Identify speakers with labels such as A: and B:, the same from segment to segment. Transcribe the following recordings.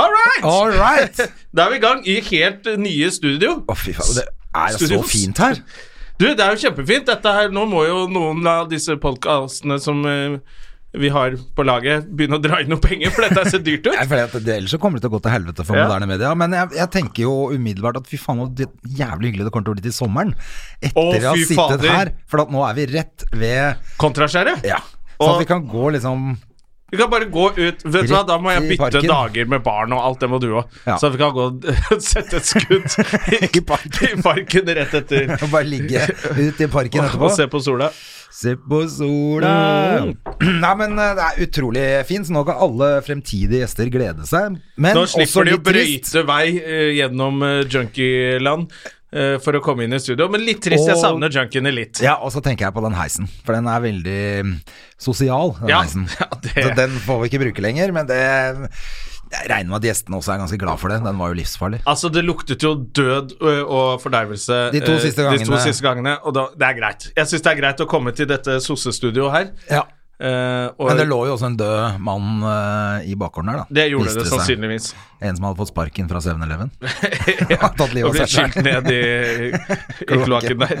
A: All right!
B: All right!
A: Da er vi i gang i helt eh, nye studio.
B: Å, fy faen. Det er så
A: Studios.
B: fint her.
A: Du, det er jo kjempefint. Dette her, nå må jo noen av disse podkastene som eh, vi har på laget, begynne å dra inn noe penger, for dette ser dyrt
B: Jeg
A: ut.
B: føler at det, ellers så kommer det til å gå til helvete for
A: Ja.
B: moderne media. Men jeg, jeg tenker jo umiddelbart at fy faen, så jævlig hyggelig det kommer til å bli til sommeren. Etter
A: Å,
B: vi har
A: fy
B: sittet
A: fader.
B: her. For at nå er vi rett ved
A: Kontraskjære.
B: Ja. Så
A: Og-
B: at vi kan gå liksom
A: Vi kan bare gå ut. Vet du hva, Da må
B: Rett
A: jeg
B: i
A: bytte
B: parken.
A: dager med barn og alt, det må du òg.
B: Ja.
A: Så vi kan gå og sette et skudd i,
B: I parken.
A: i parken rett etter.
B: og bare ligge ute i parken etterpå.
A: Og se på sola.
B: Se på sola
A: Mm.
B: Nei, men eh, det er utrolig fint, så nå kan alle fremtidige gjester glede seg. Men
A: Nå
B: også
A: slipper de å
B: litt trist.
A: brøyte vei eh, gjennom eh, junkieland eh, for å komme inn i studio. Men litt trist. Jeg
B: Og-
A: savner junkiene litt.
B: Ja, og så tenker jeg på den heisen, for den er veldig mm, sosial. Den
A: Ja,
B: heisen.
A: ja, det-
B: Så den får vi ikke bruke lenger, men det jeg regner med at gjestene også er ganske glad for det. Den var jo livsfarlig.
A: Altså, det luktet jo død ø, og fordervelse
B: De to
A: eh,
B: siste
A: de to
B: gangene.
A: siste gangene og da, det er greit. Jeg syns det er greit å komme til dette sossestudioet her.
B: Ja.
A: eh, og
B: Men det lå jo også en død mann eh, i bakgården her, da.
A: det gjorde
B: Viste
A: det
B: seg.
A: sannsynligvis.
B: En som hadde fått sparken fra 7-Eleven.
A: Ja,
B: Tatt livet
A: og
B: av
A: ble
B: seg selv.
A: skylt ned i, i kloakken der.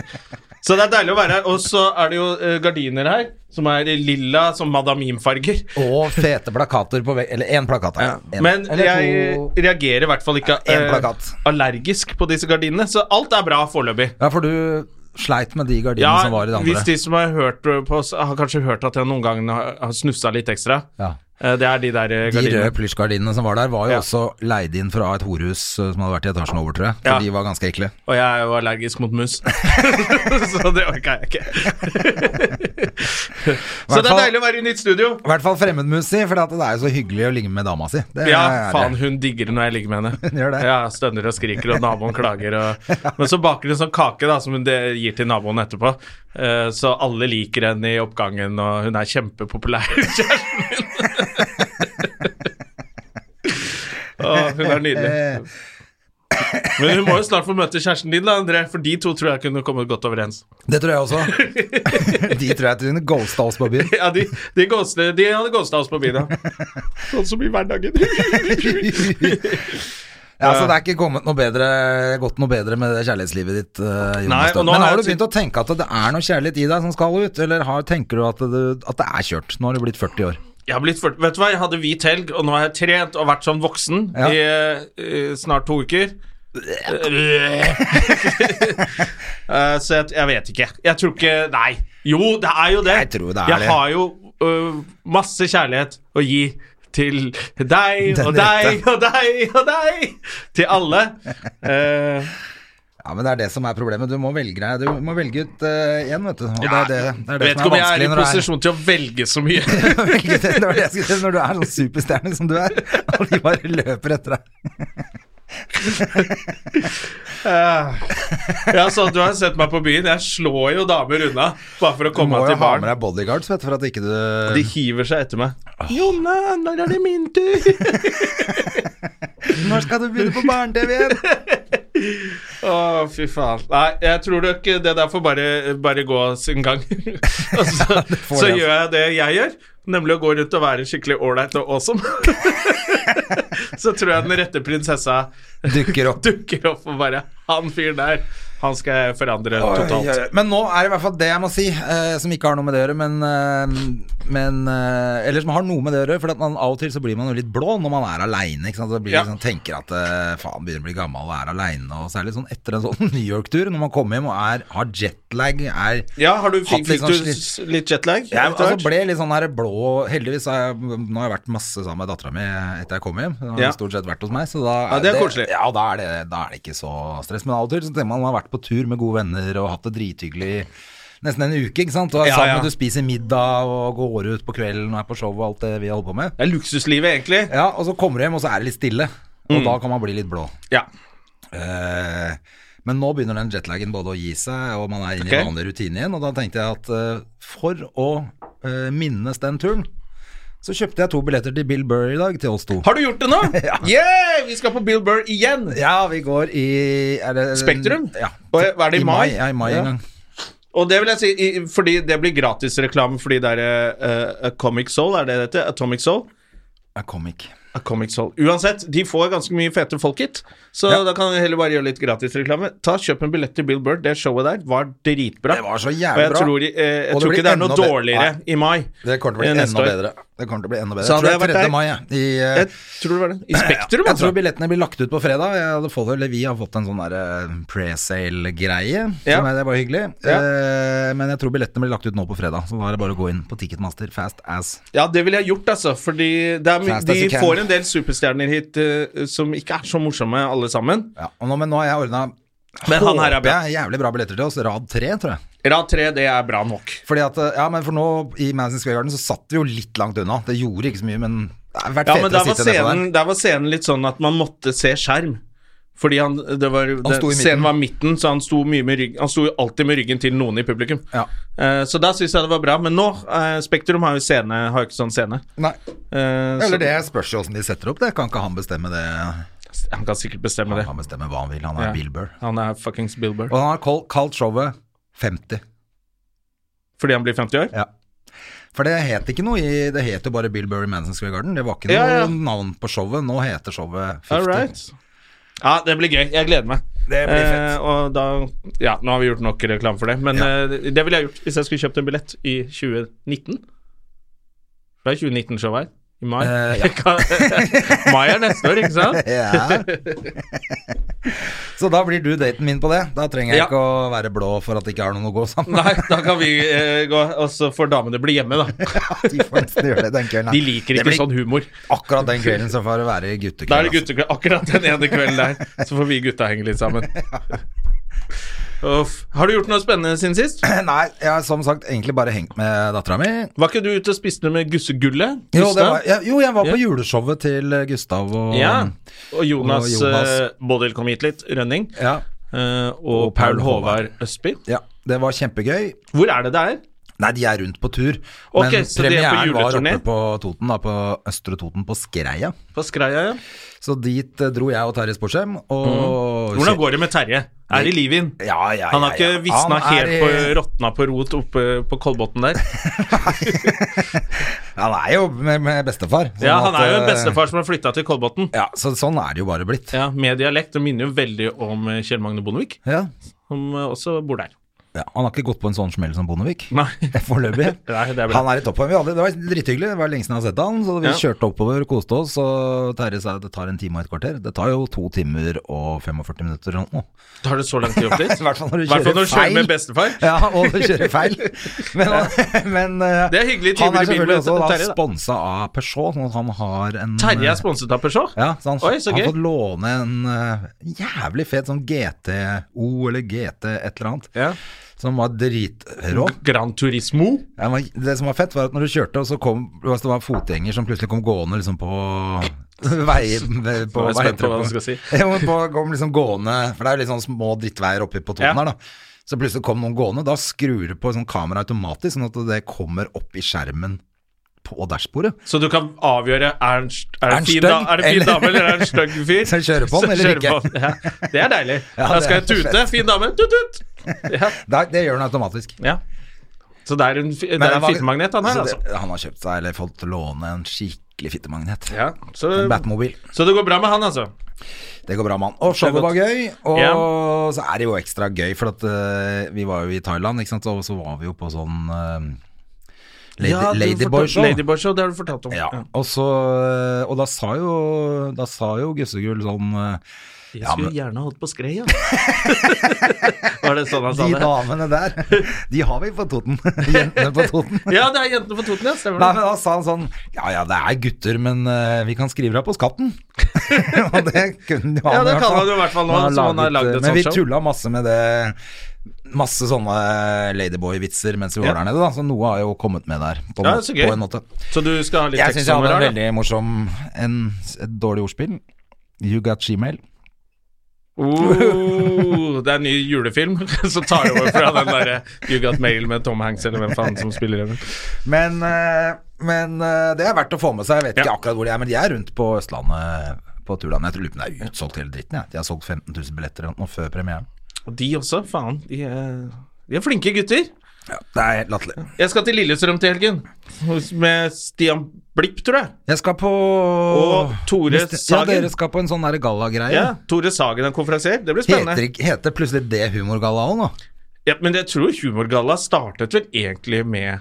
A: Så det er deilig å være her. Og så er det jo eh, gardiner her, som er i lilla, som Madam Mim-farger.
B: Og fete plakater på veggen. Eller én plakat. her. En,
A: Men
B: eller
A: jeg
B: to.
A: reagerer i hvert fall ikke
B: En
A: eh,
B: plakat.
A: allergisk på disse gardinene, så alt er bra foreløpig.
B: Ja, for du sleit med de gardinene som var i det andre.
A: hvis de som har hørt på oss, har kanskje hørt at jeg noen ganger har har snufsa litt ekstra.
B: Ja.
A: Eh, Det er de der eh,
B: De
A: gardinene.
B: røde plysjgardinene som var der, var jo
A: Ja.
B: også leid inn fra et horhus eh, som hadde vært i etasjen over, tror jeg. For
A: Ja.
B: de var ganske ekle.
A: Og jeg er jo allergisk mot mus, så det orker jeg ikke. så det er
B: Hvertfall-
A: deilig å være i nytt studio.
B: I hvert fall fremmedmus, si, for at det er jo så hyggelig å ligge med dama si. Det
A: Ja,
B: er-
A: faen, hun digger det når jeg ligger med henne.
B: Hun gjør det.
A: Ja, Stønner og skriker, og naboen klager. Og... Men så baker hun sånn kake da som hun de- gir til naboen etterpå. Eh, Så alle liker henne i oppgangen, og hun er kjempepopulær. Kjæresten min. Å, hun er nydelig. Men hun må jo snart få møte kjæresten din, da, André, for de to tror jeg kunne kommet godt overens.
B: Det tror jeg også. de tror jeg at hun ghosta oss på byen.
A: Ja, De, de, ghoste, de hadde ghosta oss på byen, ja. Sånn som i hverdagen.
B: Ja, så det er ikke kommet noe bedre, gått noe bedre med det kjærlighetslivet ditt, eh,
A: Nei,
B: Jonas.
A: og
B: Dahl.
A: nå
B: Men
A: har
B: har du
A: jeg
B: begynt å tenke at det er noe kjærlighet i deg som skal ut, eller har, tenker du at det, at det er kjørt? Nå har du blitt 40 år.
A: Jeg har blitt 40. Vet du hva, jeg hadde hvit helg, og nå har jeg trent og vært sånn voksen
B: Ja.
A: i eh, snart to uker. Eh, så jeg, jeg vet ikke. Jeg tror ikke Nei. Jo, det er jo det.
B: Jeg tror det er
A: Jeg
B: det.
A: har jo øh, masse kjærlighet å gi til deg
B: Den
A: og deg
B: rette.
A: og deg og deg. Til alle. Eh,
B: Ja, men det er det som er problemet. Du må velge deg Du må velge ut én, vet du. Og
A: ja,
B: det er det, det, er det
A: vet
B: som er
A: ikke om jeg er
B: vanskelig
A: i
B: når du er
A: posisjon til å velge så mye.
B: Velge det, det var det jeg skulle si, når du er sånn superstjerne som du er, og de bare løper etter deg.
A: Ah. Ja, så Du har sett meg på byen. Jeg slår jo damer unna bare for å
B: Du må
A: komme
B: jo
A: meg til
B: ha
A: baren.
B: med deg bodyguards, vet du, for at ikke du
A: De hiver seg etter meg.
B: Ah.
A: Jonna, når er det min tur?
B: Når skal du begynne på barne-TV igjen?
A: Å, fy faen. Nei, jeg tror nok det der får bare, bare gå sin gang. og så,
B: får
A: så
B: det, altså.
A: gjør jeg det jeg gjør, nemlig å gå rundt og være skikkelig ålreit og awesome. så tror jeg den rette prinsessa
B: Dukker opp.
A: dukker opp og bare Han fyren der, han skal jeg forandre totalt.
B: Men nå er det i hvert fall det jeg må si, eh, som ikke har noe med det å gjøre, men, eh, men eh, Eller som har noe med det å gjøre, for at man, av og til så blir man jo litt blå når man er aleine. Så blir
A: Ja.
B: det sånn, tenker at eh, faen, begynner å bli gammel og er aleine, og særlig sånn etter en sånn New York-tur, når man kommer hjem og er, har jetlag, er
A: Ja, har du,
B: Hatt
A: fikk,
B: litt
A: fikk
B: sånn
A: du
B: slitt-
A: s- litt jetlag?
B: Jeg
A: etter
B: altså,
A: hvert?
B: ble litt sånn her blå Heldigvis har jeg, nå har jeg vært masse sammen med dattera mi etter jeg kom hjem. Hun har
A: Ja.
B: stort sett vært hos meg, så da
A: Ja, det er koselig.
B: Ja, da er, det, da er det ikke så stress. Men av og til så tenker man at man har vært på tur med gode venner og hatt det drithyggelig nesten en uke. ikke sant? Og er
A: Ja,
B: sammen,
A: ja.
B: Du spiser middag og går ut på kvelden og er på show og alt det vi holder på med.
A: Det er luksuslivet, egentlig.
B: Ja, Og så kommer du hjem, og så er det litt stille.
A: Mm.
B: Og da kan man bli litt blå.
A: Ja.
B: Eh, men nå begynner den jetlagen både å gi seg, og man er inne
A: Ok.
B: i vanlig rutine igjen. Og da tenkte jeg at eh, for å eh, minnes den turen, så kjøpte jeg to billetter til Bill Burr i dag, til oss to.
A: Har du gjort det nå? Yeah! Vi skal på Bill Burr igjen!
B: Ja, vi går i er det,
A: Spektrum?
B: Ja.
A: Og er det i mai?
B: Ja, i mai
A: Ja.
B: en gang.
A: Og det vil jeg si, i- fordi det blir gratisreklame fordi det er eh, eh, Comic Soul, er det det heter? Atomic Soul?
B: Er comic.
A: A Comic Soul. Uansett, de får ganske mye fete folk hit, så
B: Ja.
A: da kan vi heller bare gjøre litt gratisreklame. Ta Kjøp en billett til Bill Burr, det showet der var dritbra.
B: Det var så
A: og
B: jævlig
A: jeg
B: bra.
A: tror, de, eh, jeg
B: Og det
A: tror
B: blir
A: ikke det er noe
B: enda bedre.
A: dårligere
B: Nei.
A: i mai.
B: Det kommer til å bli
A: eh, neste
B: enda
A: år.
B: bedre. Det kommer til å bli enda bedre.
A: Så
B: Jeg tror det er
A: hadde jeg vært der-
B: 3. mai, jeg. I, eh,
A: Jeg tror det var det. I Spektrum,
B: jeg
A: altså.
B: tror billettene blir lagt ut på fredag. Jeg hadde fått, eller Vi har fått en sånn der, eh, presale-greie.
A: Ja.
B: Som er, det var hyggelig.
A: Ja.
B: Eh, men jeg tror billettene blir lagt ut nå på fredag. Så da er det bare å gå inn på Ticketmaster fast as.
A: Ja, det ville jeg gjort, altså. Fordi det er, my-
B: Fast as
A: de
B: you can.
A: får en del superstjerner hit eh, som ikke er så morsomme, alle sammen.
B: Ja, og nå, men nå har jeg ordna
A: Men han her er bra.
B: jævlig bra billetter til oss. Rad tre, tror jeg.
A: Rad 3, det er bra nok.
B: Fordi at, eh, ja, men for nå I Madison Square Garden så satt vi jo litt langt unna. Det gjorde ikke så mye, men det har vært
A: Ja, men
B: fetere
A: der
B: å
A: var,
B: sitte nedpå der.
A: scenen, der var scenen litt sånn at man måtte se skjerm. Fordi han, det var, det,
B: sto i midten.
A: scenen var midten, så han sto, mye med rygg, han sto jo alltid med ryggen til noen i publikum.
B: Ja.
A: Eh, så da syns jeg det var bra. Men nå, eh, Spektrum har jo scene, har jo ikke sånn scene.
B: Nei.
A: Eh, så-
B: Eller det spørs jo åssen de setter opp det. Kan ikke han bestemme det?
A: Han kan sikkert bestemme
B: Han
A: det.
B: kan bestemme hva han vil. Han er
A: Ja.
B: Bill Burr.
A: Han er fuckings Bill Burr.
B: Og han har kalt, kalt showet 50.
A: Fordi han blir 50 år?
B: Ja. For det het ikke noe i Det het jo bare Bill Burry Manson Square Garden. Det var ikke noe
A: Ja, ja.
B: navn på showet. Nå heter showet 50.
A: All right. Ja, det blir gøy. Jeg gleder meg.
B: Det blir fett.
A: Eh, og da Ja, nå har vi gjort nok reklame for det, men
B: Ja.
A: eh, det- det ville jeg gjort hvis jeg skulle kjøpt en billett i 2019. Det er 2019-show her. I mai.
B: Eh,
A: mai er neste år, ikke sant?
B: Ja. Så da blir du daten min på det. Da trenger jeg
A: Ja.
B: ikke å være blå for at det ikke er noen å gå sammen med.
A: Nei, da kan vi eh, gå, og så får damene bli hjemme, da.
B: De får nesten gjøre det den kvelden.
A: De liker
B: Det
A: ikke
B: blir
A: sånn humor.
B: Akkurat den kvelden så får det være guttekveld.
A: Da er det
B: altså.
A: guttekveld. Akkurat den ene kvelden der, så får vi gutta henge litt sammen. Uff. Har du gjort noe spennende siden sist?
B: Nei, jeg har som sagt egentlig bare hengt med dattera mi.
A: Var ikke du ute og spiste noe med gussegullet?
B: Jo, det
A: Gustav?
B: var, ja, jo, jeg var på
A: Ja.
B: juleshowet til eh, Gustav og
A: Ja. Og Jonas,
B: og Jonas.
A: eh, Bodil kom hit litt, Rønning.
B: Ja,
A: eh, og,
B: Og Paul
A: Paul Håvard Østby.
B: ja, det var kjempegøy.
A: Hvor er det det er?
B: Nei, de er rundt på tur.
A: Ok,
B: men
A: så de er på
B: premieren var
A: juleturné?
B: oppe på Toten, da, på Østre Toten, på Skreia.
A: På Skreia, ja.
B: Så dit eh, dro jeg og Terje Sporsem. Og
A: Mhm. Hvordan går det med Terje? Er i live inn?
B: Ja, ja, ja,
A: Han har ikke
B: ja.
A: visna
B: Han er
A: helt
B: i-
A: på råtna på rot oppe på Kolbotn der.
B: Han er jo med, med bestefar. sånn
A: Ja, han
B: at,
A: er jo en
B: eh,
A: bestefar som har flytta til Kolbotn.
B: Ja, så sånn er det jo bare blitt.
A: Ja, med dialekt. Det minner jo veldig om eh, Kjell Magne Bondevik,
B: Ja.
A: som eh, også bor der.
B: ja. Han har ikke gått på en sånn smell som Bondevik.
A: Nei.
B: Foreløpig.
A: Nei, det er bra.
B: Han er i toppform. Vi hadde- Det var drithyggelig. Det var lenge siden jeg har sett han. Så vi
A: Ja.
B: kjørte oppover, koste oss. Og Terje sa det tar en time og et kvarter. Det tar jo to timer og 45 minutter eller noe.
A: Tar det så lang tid opp dit?
B: I hvert fall når du
A: I hvert fall
B: kjører
A: når du
B: feil.
A: kjører med bestefar.
B: Ja, og du kjører feil. Men, men eh,
A: Det er hyggelige
B: han
A: timer i
B: er
A: bilen
B: selvfølgelig
A: med
B: også da,
A: Terje, da.
B: sponsa av Peugeot, sånn at han har en
A: Terje
B: eh,
A: er sponset av Peugeot.
B: ja, så han,
A: Oi, så
B: han
A: gøy.
B: har fått låne en eh, jævlig fet sånn GTO eller GT et eller annet,
A: Ja.
B: som var dritrå.
A: Gran Turismo.
B: Ja, men Det som var fett, var at når du kjørte, og så kom altså, det var fotgjenger som plutselig kom gående liksom på vei, på,
A: Nå er jeg
B: hva
A: spent
B: heter
A: på hva du
B: det
A: skal si.
B: Ja, men på, kom liksom gående, for det er jo litt sånn små drittveier oppe på toppen
A: Ja.
B: her, da. Så plutselig kom noen gående, da skrur du på sånn kamera automatisk, sånn at det kommer opp i skjermen på dashbordet.
A: Så du kan avgjøre er han st- er
B: Er han
A: det en fin,
B: stygg,
A: da, er det en fin
B: eller-
A: dame eller er det en stygg fyr.
B: Skal jeg kjøre på han,
A: Så
B: eller
A: kjører
B: ikke?
A: på han. Ja, det er deilig.
B: Ja,
A: da
B: det
A: skal
B: er
A: jeg tute. Fin dame. Tut, tut. Ja.
B: Det, det gjør den automatisk.
A: ja. Så det er en, fi- det
B: Men
A: er en
B: var-
A: fittemagnet, han her,
B: så det-
A: altså.
B: Han har kjøpt seg, eller fått låne, en skikkelig fittemagnet.
A: Ja, så,
B: En Batmobil.
A: så det går bra med han, altså.
B: Det går bra, mann. Og showet
A: Det er
B: var
A: godt.
B: gøy, og
A: Ja.
B: så er det jo ekstra gøy, for at eh, vi var jo i Thailand, ikke sant, og så var vi jo på sånn eh, lady,
A: Ja, du fortalte-
B: Ladyboy-show.
A: Ladyboy Show, det har du fortalt om.
B: Ja, og, så, eh, og da sa jo, da sa jo Gussegull sånn eh,
A: Jeg
B: Ja,
A: skulle
B: men-
A: gjerne holdt på skrei, ja. Var det sånn han sa
B: De
A: det?
B: damene der, de har vi på Toten. Jentene på Toten.
A: Ja, det er jentene på Toten, ja. Stemmer
B: Nei,
A: det.
B: men da sa han sånn Ja ja, det er gutter, men eh, vi kan skrive deg på skatten. og det kunne jo
A: Ja, det
B: i hvert
A: kan
B: fall.
A: han jo i hvert fall nå, som han har lagd et
B: Men
A: sånt
B: vi
A: show.
B: tulla masse med det. Masse sånne ladyboy-vitser mens vi var
A: Ja.
B: der nede, da. Så noe har jo kommet med der, på,
A: Ja,
B: må-
A: så gøy.
B: på en måte.
A: Så du skal ha litt
B: Jeg
A: tekst
B: syns jeg
A: om
B: hadde en
A: det her, da?
B: veldig morsom en, Et dårlig ordspill. You got Gmail.
A: Oh, det er en ny julefilm som tar over fra den derre You Got Mail med Tom Hanks, eller hvem faen som spiller den.
B: Men, eh, men eh, det er verdt å få med seg. Jeg vet
A: Ja.
B: ikke akkurat hvor de er, men de er rundt på Østlandet eh, på turlandet. Jeg tror lurer på om det er utsolgt hele dritten. Jeg. De har solgt 15 000 billetter eller noe før premieren.
A: Og de også, faen. De er, de er flinke gutter.
B: Det er helt latterlig.
A: Jeg skal til Lillestrøm til helgen hos- med Stian Blipp, tror jeg.
B: Jeg skal på
A: Og Tore
B: Hvis det- Ja,
A: Sagen.
B: dere skal på en sånn der gallagreie.
A: Ja, Tore Sagen er konferansier. Det blir spennende.
B: Heter, ikke- heter plutselig det humorgalla òg nå?
A: Ja, men jeg tror Humorgalla startet vel egentlig med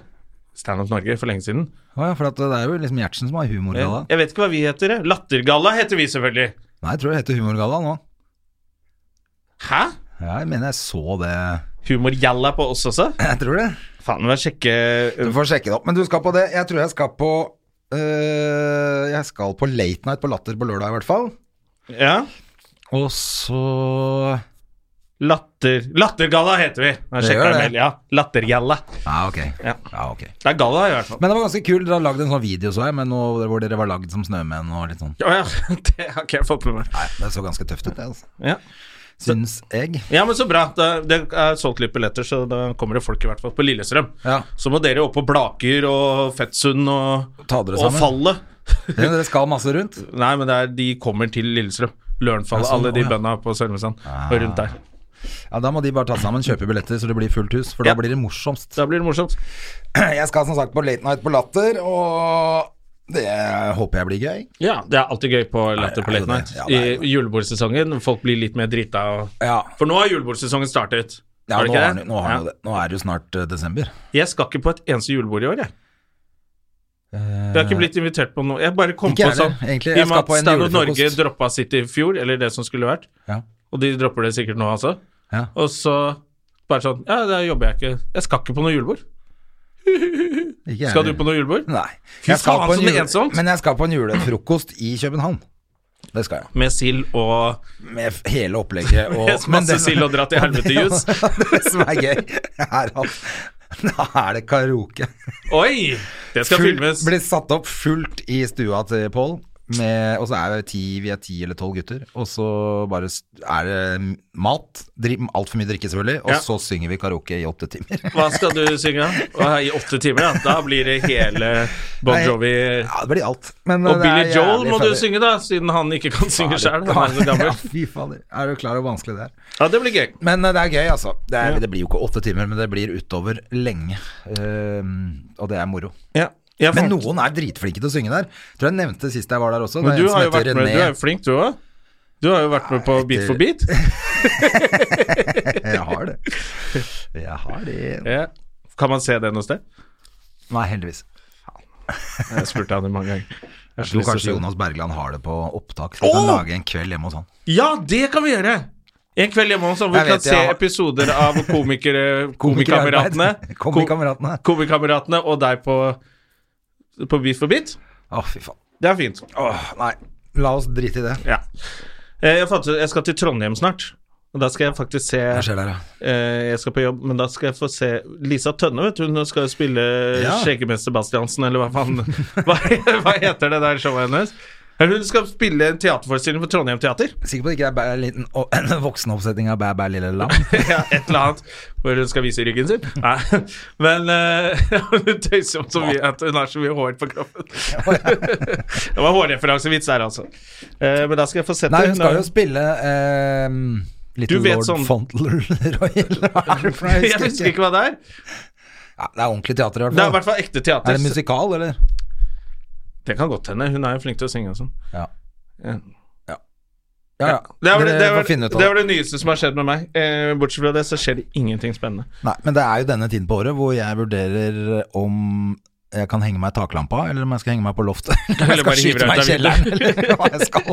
A: Standup Norge for lenge siden.
B: Å ja, for at det er jo liksom Gjertsen som har humorgalla.
A: Jeg vet ikke hva vi heter. jeg. Lattergalla heter vi selvfølgelig.
B: Nei, jeg tror det heter humorgalla nå.
A: Hæ?
B: Ja, jeg mener jeg så det
A: Humorgjalla på oss også?
B: Jeg tror det.
A: Faen, må jeg
B: Du
A: sjekke eh,
B: får sjekke det opp. Men du skal på det. Jeg tror jeg skal på øh, Jeg skal på Late Night på Latter på lørdag, i hvert fall.
A: Ja.
B: Og så
A: Latter... Lattergalla heter vi. Nå
B: Det
A: sjekker
B: gjør
A: jeg
B: det.
A: mail. Ja, Lattergjalla.
B: Ja, ok.
A: Ja.
B: Ja, ok.
A: Det er galla, i hvert fall.
B: Men det var ganske kult. Dere har lagd en sånn video, så jeg, med noe, hvor dere var lagd som snømenn og litt sånn.
A: Å ja, det har ikke jeg fått med meg.
B: Nei, det så ganske tøft ut, det, altså.
A: Ja,
B: Syns jeg.
A: ja men så bra. Det, det er solgt litt billetter, så da kommer det folk i hvert fall på Lillestrøm.
B: Ja.
A: Så må dere opp på Blaker og Fettsund og,
B: Ta dere
A: og
B: sammen.
A: Fallet.
B: Ja, dere skal masse rundt.
A: Nei, men det er, de kommer til Lillestrøm. Lørenfall,
B: Ja, sånn,
A: alle
B: å,
A: de
B: ja. Ah.
A: bøndene på Sørumsand og rundt der.
B: Ja, Da må de bare ta sammen, kjøpe billetter så det blir fullt hus, for da
A: Ja.
B: blir det morsomst.
A: Da blir det morsomt.
B: Jeg skal som sagt på Late Night på Latter, og det håper jeg blir gøy.
A: Ja, det er alltid gøy på Latter på
B: Nei, det er jo
A: Late Night.
B: det. Ja, det er jo det.
A: I julebordsesongen, folk blir litt mer drita og
B: Ja,
A: For nå har julebordsesongen startet.
B: ja
A: Har det
B: nå,
A: ikke
B: har,
A: det?
B: den- nå, har den
A: Ja.
B: jo det. nå er det jo snart eh, desember.
A: Jeg skal ikke på et eneste julebord i år, jeg. Jeg har ikke blitt invitert på noe. Jeg bare kom
B: Ikke
A: på
B: jeg
A: sånn
B: heller, egentlig.
A: I
B: Jeg
A: og
B: skal
A: med
B: på
A: at
B: en
A: Standup Norge
B: julefrokost.
A: droppa sitt i fjor, eller det som skulle vært,
B: Ja.
A: og de dropper det sikkert nå, altså.
B: Ja.
A: Og så bare sånn Ja, da jobber jeg ikke. Jeg skal ikke på noe julebord.
B: Ikke jeg
A: Skal du
B: heller.
A: på noe julebord?
B: Nei.
A: Fy faen, så det er ensomt.
B: men jeg skal på en julefrokost i København. Det skal jeg.
A: Med sild og
B: Med f- hele opplegget. Og,
A: Yes, masse sild og dra til helvete jus.
B: det som er gøy, er at da er det karaoke.
A: Oi! Det skal
B: Full-
A: filmes.
B: Blir satt opp fullt i stua til Pål. med- Og så er det ti, vi er ti eller tolv gutter, og så bare s- er det mat. Altfor mye drikke, selvfølgelig. Og
A: Ja.
B: så synger vi karaoke i åtte timer.
A: Hva skal du synge? Å, I åtte timer, ja. Da blir det hele Bon
B: Nei,
A: Jovi
B: Ja, det blir alt. Men eh,
A: Og
B: det er
A: Billy Joel
B: jævlig
A: må du
B: funny.
A: synge, da, siden han ikke kan synge sjøl. Han er så
B: Ja,
A: gammel.
B: fy fader. Er du klar over hvor vanskelig det er?
A: Ja, det blir gøy.
B: Men eh, det er gøy, altså. Det, er, det blir jo ikke åtte timer, men det blir utover lenge. Ehm, og det er moro.
A: Ja. Jeg
B: Men
A: fant-
B: noen er dritflinke til å synge der. Tror jeg nevnte sist jeg var der også.
A: Men
B: det er
A: du
B: en som
A: har jo
B: heter
A: vært med, du
B: René.
A: er jo flink, du òg. Du har jo vært med på Beat for beat.
B: Jeg har det. Jeg har det.
A: Ja. Kan man se det noe sted?
B: Nei, heldigvis.
A: Jeg spurte han det mange ganger. Jeg har
B: Jeg
A: så
B: tror
A: lyst til å si
B: kanskje
A: det.
B: Jonas Bergland har det på opptak. Så vi kan
A: Åh!
B: lage en kveld hjemme hos han.
A: Ja, det kan vi gjøre! En kveld hjemme hos oss, hvor
B: Jeg
A: vi kan
B: vet, jeg
A: se
B: har-
A: episoder av komikere, komikameratene.
B: Komikameratene.
A: Ko- Komikameratene og deg på, på Beat for beat.
B: Å, fy faen.
A: Det er fint.
B: Åh, nei. La oss drite i det.
A: Ja. Eh, Jeg, fant, ut- jeg skal til Trondheim snart. Og da skal jeg faktisk se
B: Hva
A: eh,
B: skjer der, da?
A: Jeg skal på jobb, men da skal jeg få se Lisa Tønne, vet du. Hun skal jo spille
B: Ja.
A: Skjeggemester Bastiansen, eller hva faen hva, hva heter det der showet hennes? Hun skal spille en teaterforestilling for Trondheim Teater.
B: Sikker på det ikke er bare en liten og, en voksenoppsetning av Bæ bæ lille lam?
A: Ja, et eller annet hvor hun skal vise ryggen sin. Nei, men eh, hun tøyser om så mye at hun har så mye hår på kroppen. det var hårreferansevits der, altså. Eh, men da skal jeg få sett
B: Nei, hun
A: henne.
B: skal jo spille eh, Little
A: Du vet
B: Lord
A: sånn-
B: Fauntleroy, eller hva er det for noe? Jeg
A: Jeg husker ikke hva det er.
B: Ja, det er ordentlig teater, i
A: Det er i
B: hvert fall.
A: hvert fall ekte teater.
B: Er det musikal, eller?
A: Det kan godt hende. Hun er jo flink til å synge og sånn.
B: Ja.
A: Ja.
B: Ja, ja.
A: Det, er vel-
B: Dere
A: det, er vel-
B: får finne ut av
A: det
B: det.
A: var det nyeste som har skjedd med meg. Eh, bortsett fra det, så skjer det ingenting spennende.
B: Nei, men det er jo denne tiden på året hvor jeg vurderer om jeg kan henge meg i taklampa, eller om jeg skal henge meg på loftet. Eller
A: Eller
B: jeg
A: bare
B: skal
A: hive
B: skyte
A: deg
B: meg i
A: ut av
B: kjelleren, eller hva jeg skal.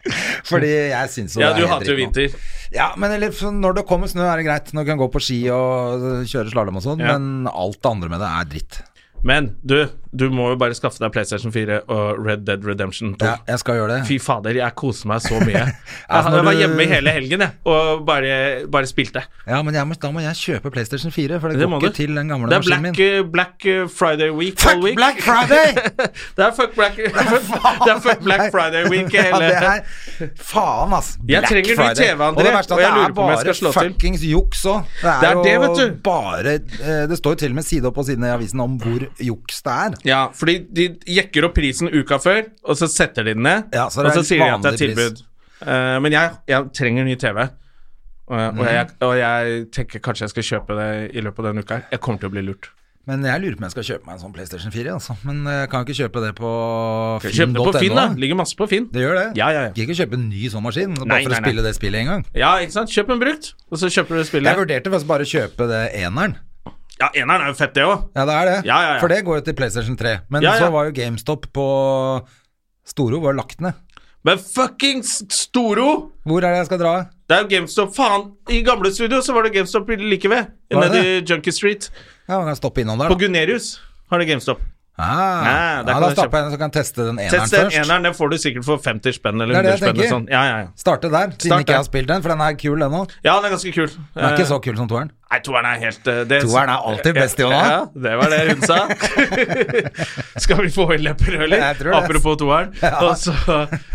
B: Fordi jeg syns jo
A: Ja,
B: det
A: du
B: er helt
A: hater jo
B: dritt nå.
A: vinter.
B: Ja, men eller, så når det kommer snø, er det greit. Når du kan gå på ski og øh, kjøre slalåm og sånn,
A: Ja.
B: men alt det andre med det er dritt.
A: Men du, Du må jo bare skaffe deg PlayStation 4 og Red Dead Redemption 2.
B: Ja, jeg skal gjøre det.
A: Fy fader, jeg koser meg så mye.
B: Ja, for
A: Jeg
B: når
A: var
B: du-
A: hjemme hele helgen jeg, og bare, bare spilte.
B: Ja, men jeg må, da må jeg kjøpe PlayStation 4, for det,
A: Det
B: går
A: må
B: ikke
A: du.
B: til den gamle
A: Det er
B: maskinen
A: Black,
B: min.
A: eh, Black eh, Friday Week. all
B: Fuck
A: week.
B: Black Friday!
A: det er fuck Black, det er fuck Black Friday Week.
B: Ja,
A: Hele.
B: det er, faen, ass.
A: Jeg trenger ny TV, André,
B: og det verste er
A: og jeg
B: at
A: lurer
B: det er
A: på om jeg skal slå
B: bare
A: til.
B: fuckings juks òg. Det er,
A: Det er det,
B: jo
A: vet du.
B: bare eh, Det står jo til og med side opp og side ned i avisen om hvor juks det er.
A: Ja, fordi de jekker opp prisen uka før, og så setter de den ned.
B: Ja, så
A: og
B: det er
A: så sier de at det er
B: vanlig pris.
A: tilbud. Eh, men jeg, jeg trenger ny TV. Og,
B: Mhm.
A: og, jeg, og jeg tenker kanskje jeg skal kjøpe det i løpet av denne uka. her. Jeg kommer til å bli lurt.
B: Men jeg lurer på om jeg skal kjøpe meg en sånn PlayStation 4, altså. Men eh, kan jeg ikke kjøpe det på
A: Kjøp det på Finn, da.
B: finn.no.
A: Ligger masse på Finn.
B: Det gjør det.
A: Ja, ja, ja.
B: Kan ikke kjøpe en ny sånn maskin bare
A: Nei,
B: for
A: nei,
B: å
A: nei.
B: spille det spillet en gang.
A: Ja, ikke sant? Kjøp en brukt, og så kjøper du
B: Jeg
A: spillet.
B: vurderte faktisk bare å kjøpe det eneren.
A: Ja, eneren er jo fett, det òg.
B: Ja, det er det.
A: Ja, ja, ja.
B: For det går jo til PlayStation 3. Men
A: Ja, ja.
B: så var jo GameStop på Storo var lagt ned.
A: Men fuckings Storo!
B: Hvor er det jeg skal dra?
A: Det er jo GameStop. Faen, i gamle studio så var det GameStop like ved.
B: Var det
A: Nede i Junkie Street.
B: Ja, man kan stoppe innom der.
A: På
B: da.
A: Gunerius har det GameStop.
B: Ah,
A: Nei,
B: ja,
A: der kan
B: da
A: du
B: stopper jeg den, så kan jeg teste den eneren
A: Sett den
B: først.
A: eneren, den får du sikkert for 50 spenn eller
B: Det er det
A: 100
B: jeg
A: spenn. eller
B: tenker.
A: Sånn. Ja, ja, ja.
B: Starte der, siden
A: Start
B: ikke
A: der.
B: jeg har spilt den, for den er kul ennå.
A: ja, den er ganske kul. Eh,
B: Den er ikke så kul som toeren.
A: Nei, toeren er helt eh, det,
B: Toeren er alltid best, Jonas.
A: Ja, det var det hun sa. Skal vi få i lepperøler?
B: Jeg tror det.
A: Apropos toeren. Og så,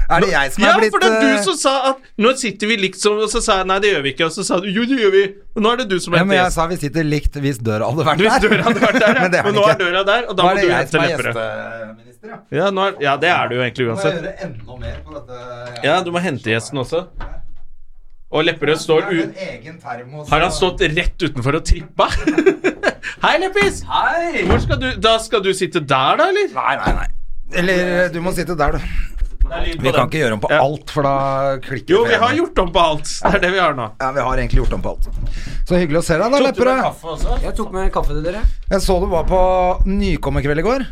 B: Er det jeg som er
A: ja,
B: blitt,
A: for det er
B: eh,
A: du som sa at nå sitter vi liksom Og så sa jeg nei, det gjør vi ikke. Og så sa du jo, det gjør vi. Og nå er det du som
B: Ja,
A: er
B: men jeg
A: gjest.
B: sa vi sitter likt hvis døra hadde vært
A: Hvis
B: der.
A: døra hadde vært der, ja.
B: men det er
A: men
B: den
A: nå er
B: ikke.
A: døra der, og da
B: Nå
A: må
B: er
A: du
B: det jeg
A: hente
B: som er
A: lepperød.
B: gjesteminister, ja.
A: Ja, nå er, ja, det er du jo egentlig
B: Nå må jeg
A: uansett.
B: gjøre enda mer på dette.
A: Ja, du må hente gjesten også. Og Lepperød står u... Har han stått rett utenfor og trippa? Hei, Leppis! Hei! Hvor skal du, da skal du sitte der, da, eller?
B: Nei, nei, nei. Eller du må sitte der, du. Vi kan ikke gjøre om på
A: Ja.
B: alt, for da klikker
A: Jo,
B: det
A: vi
B: for
A: har
B: ene.
A: gjort om på alt. Det er det vi har nå.
B: Ja, vi har egentlig gjort om på alt. Så hyggelig å se deg, da, Lepperød.
C: Jeg tok med kaffe til dere.
B: Jeg så du var på Nykommerkveld i går.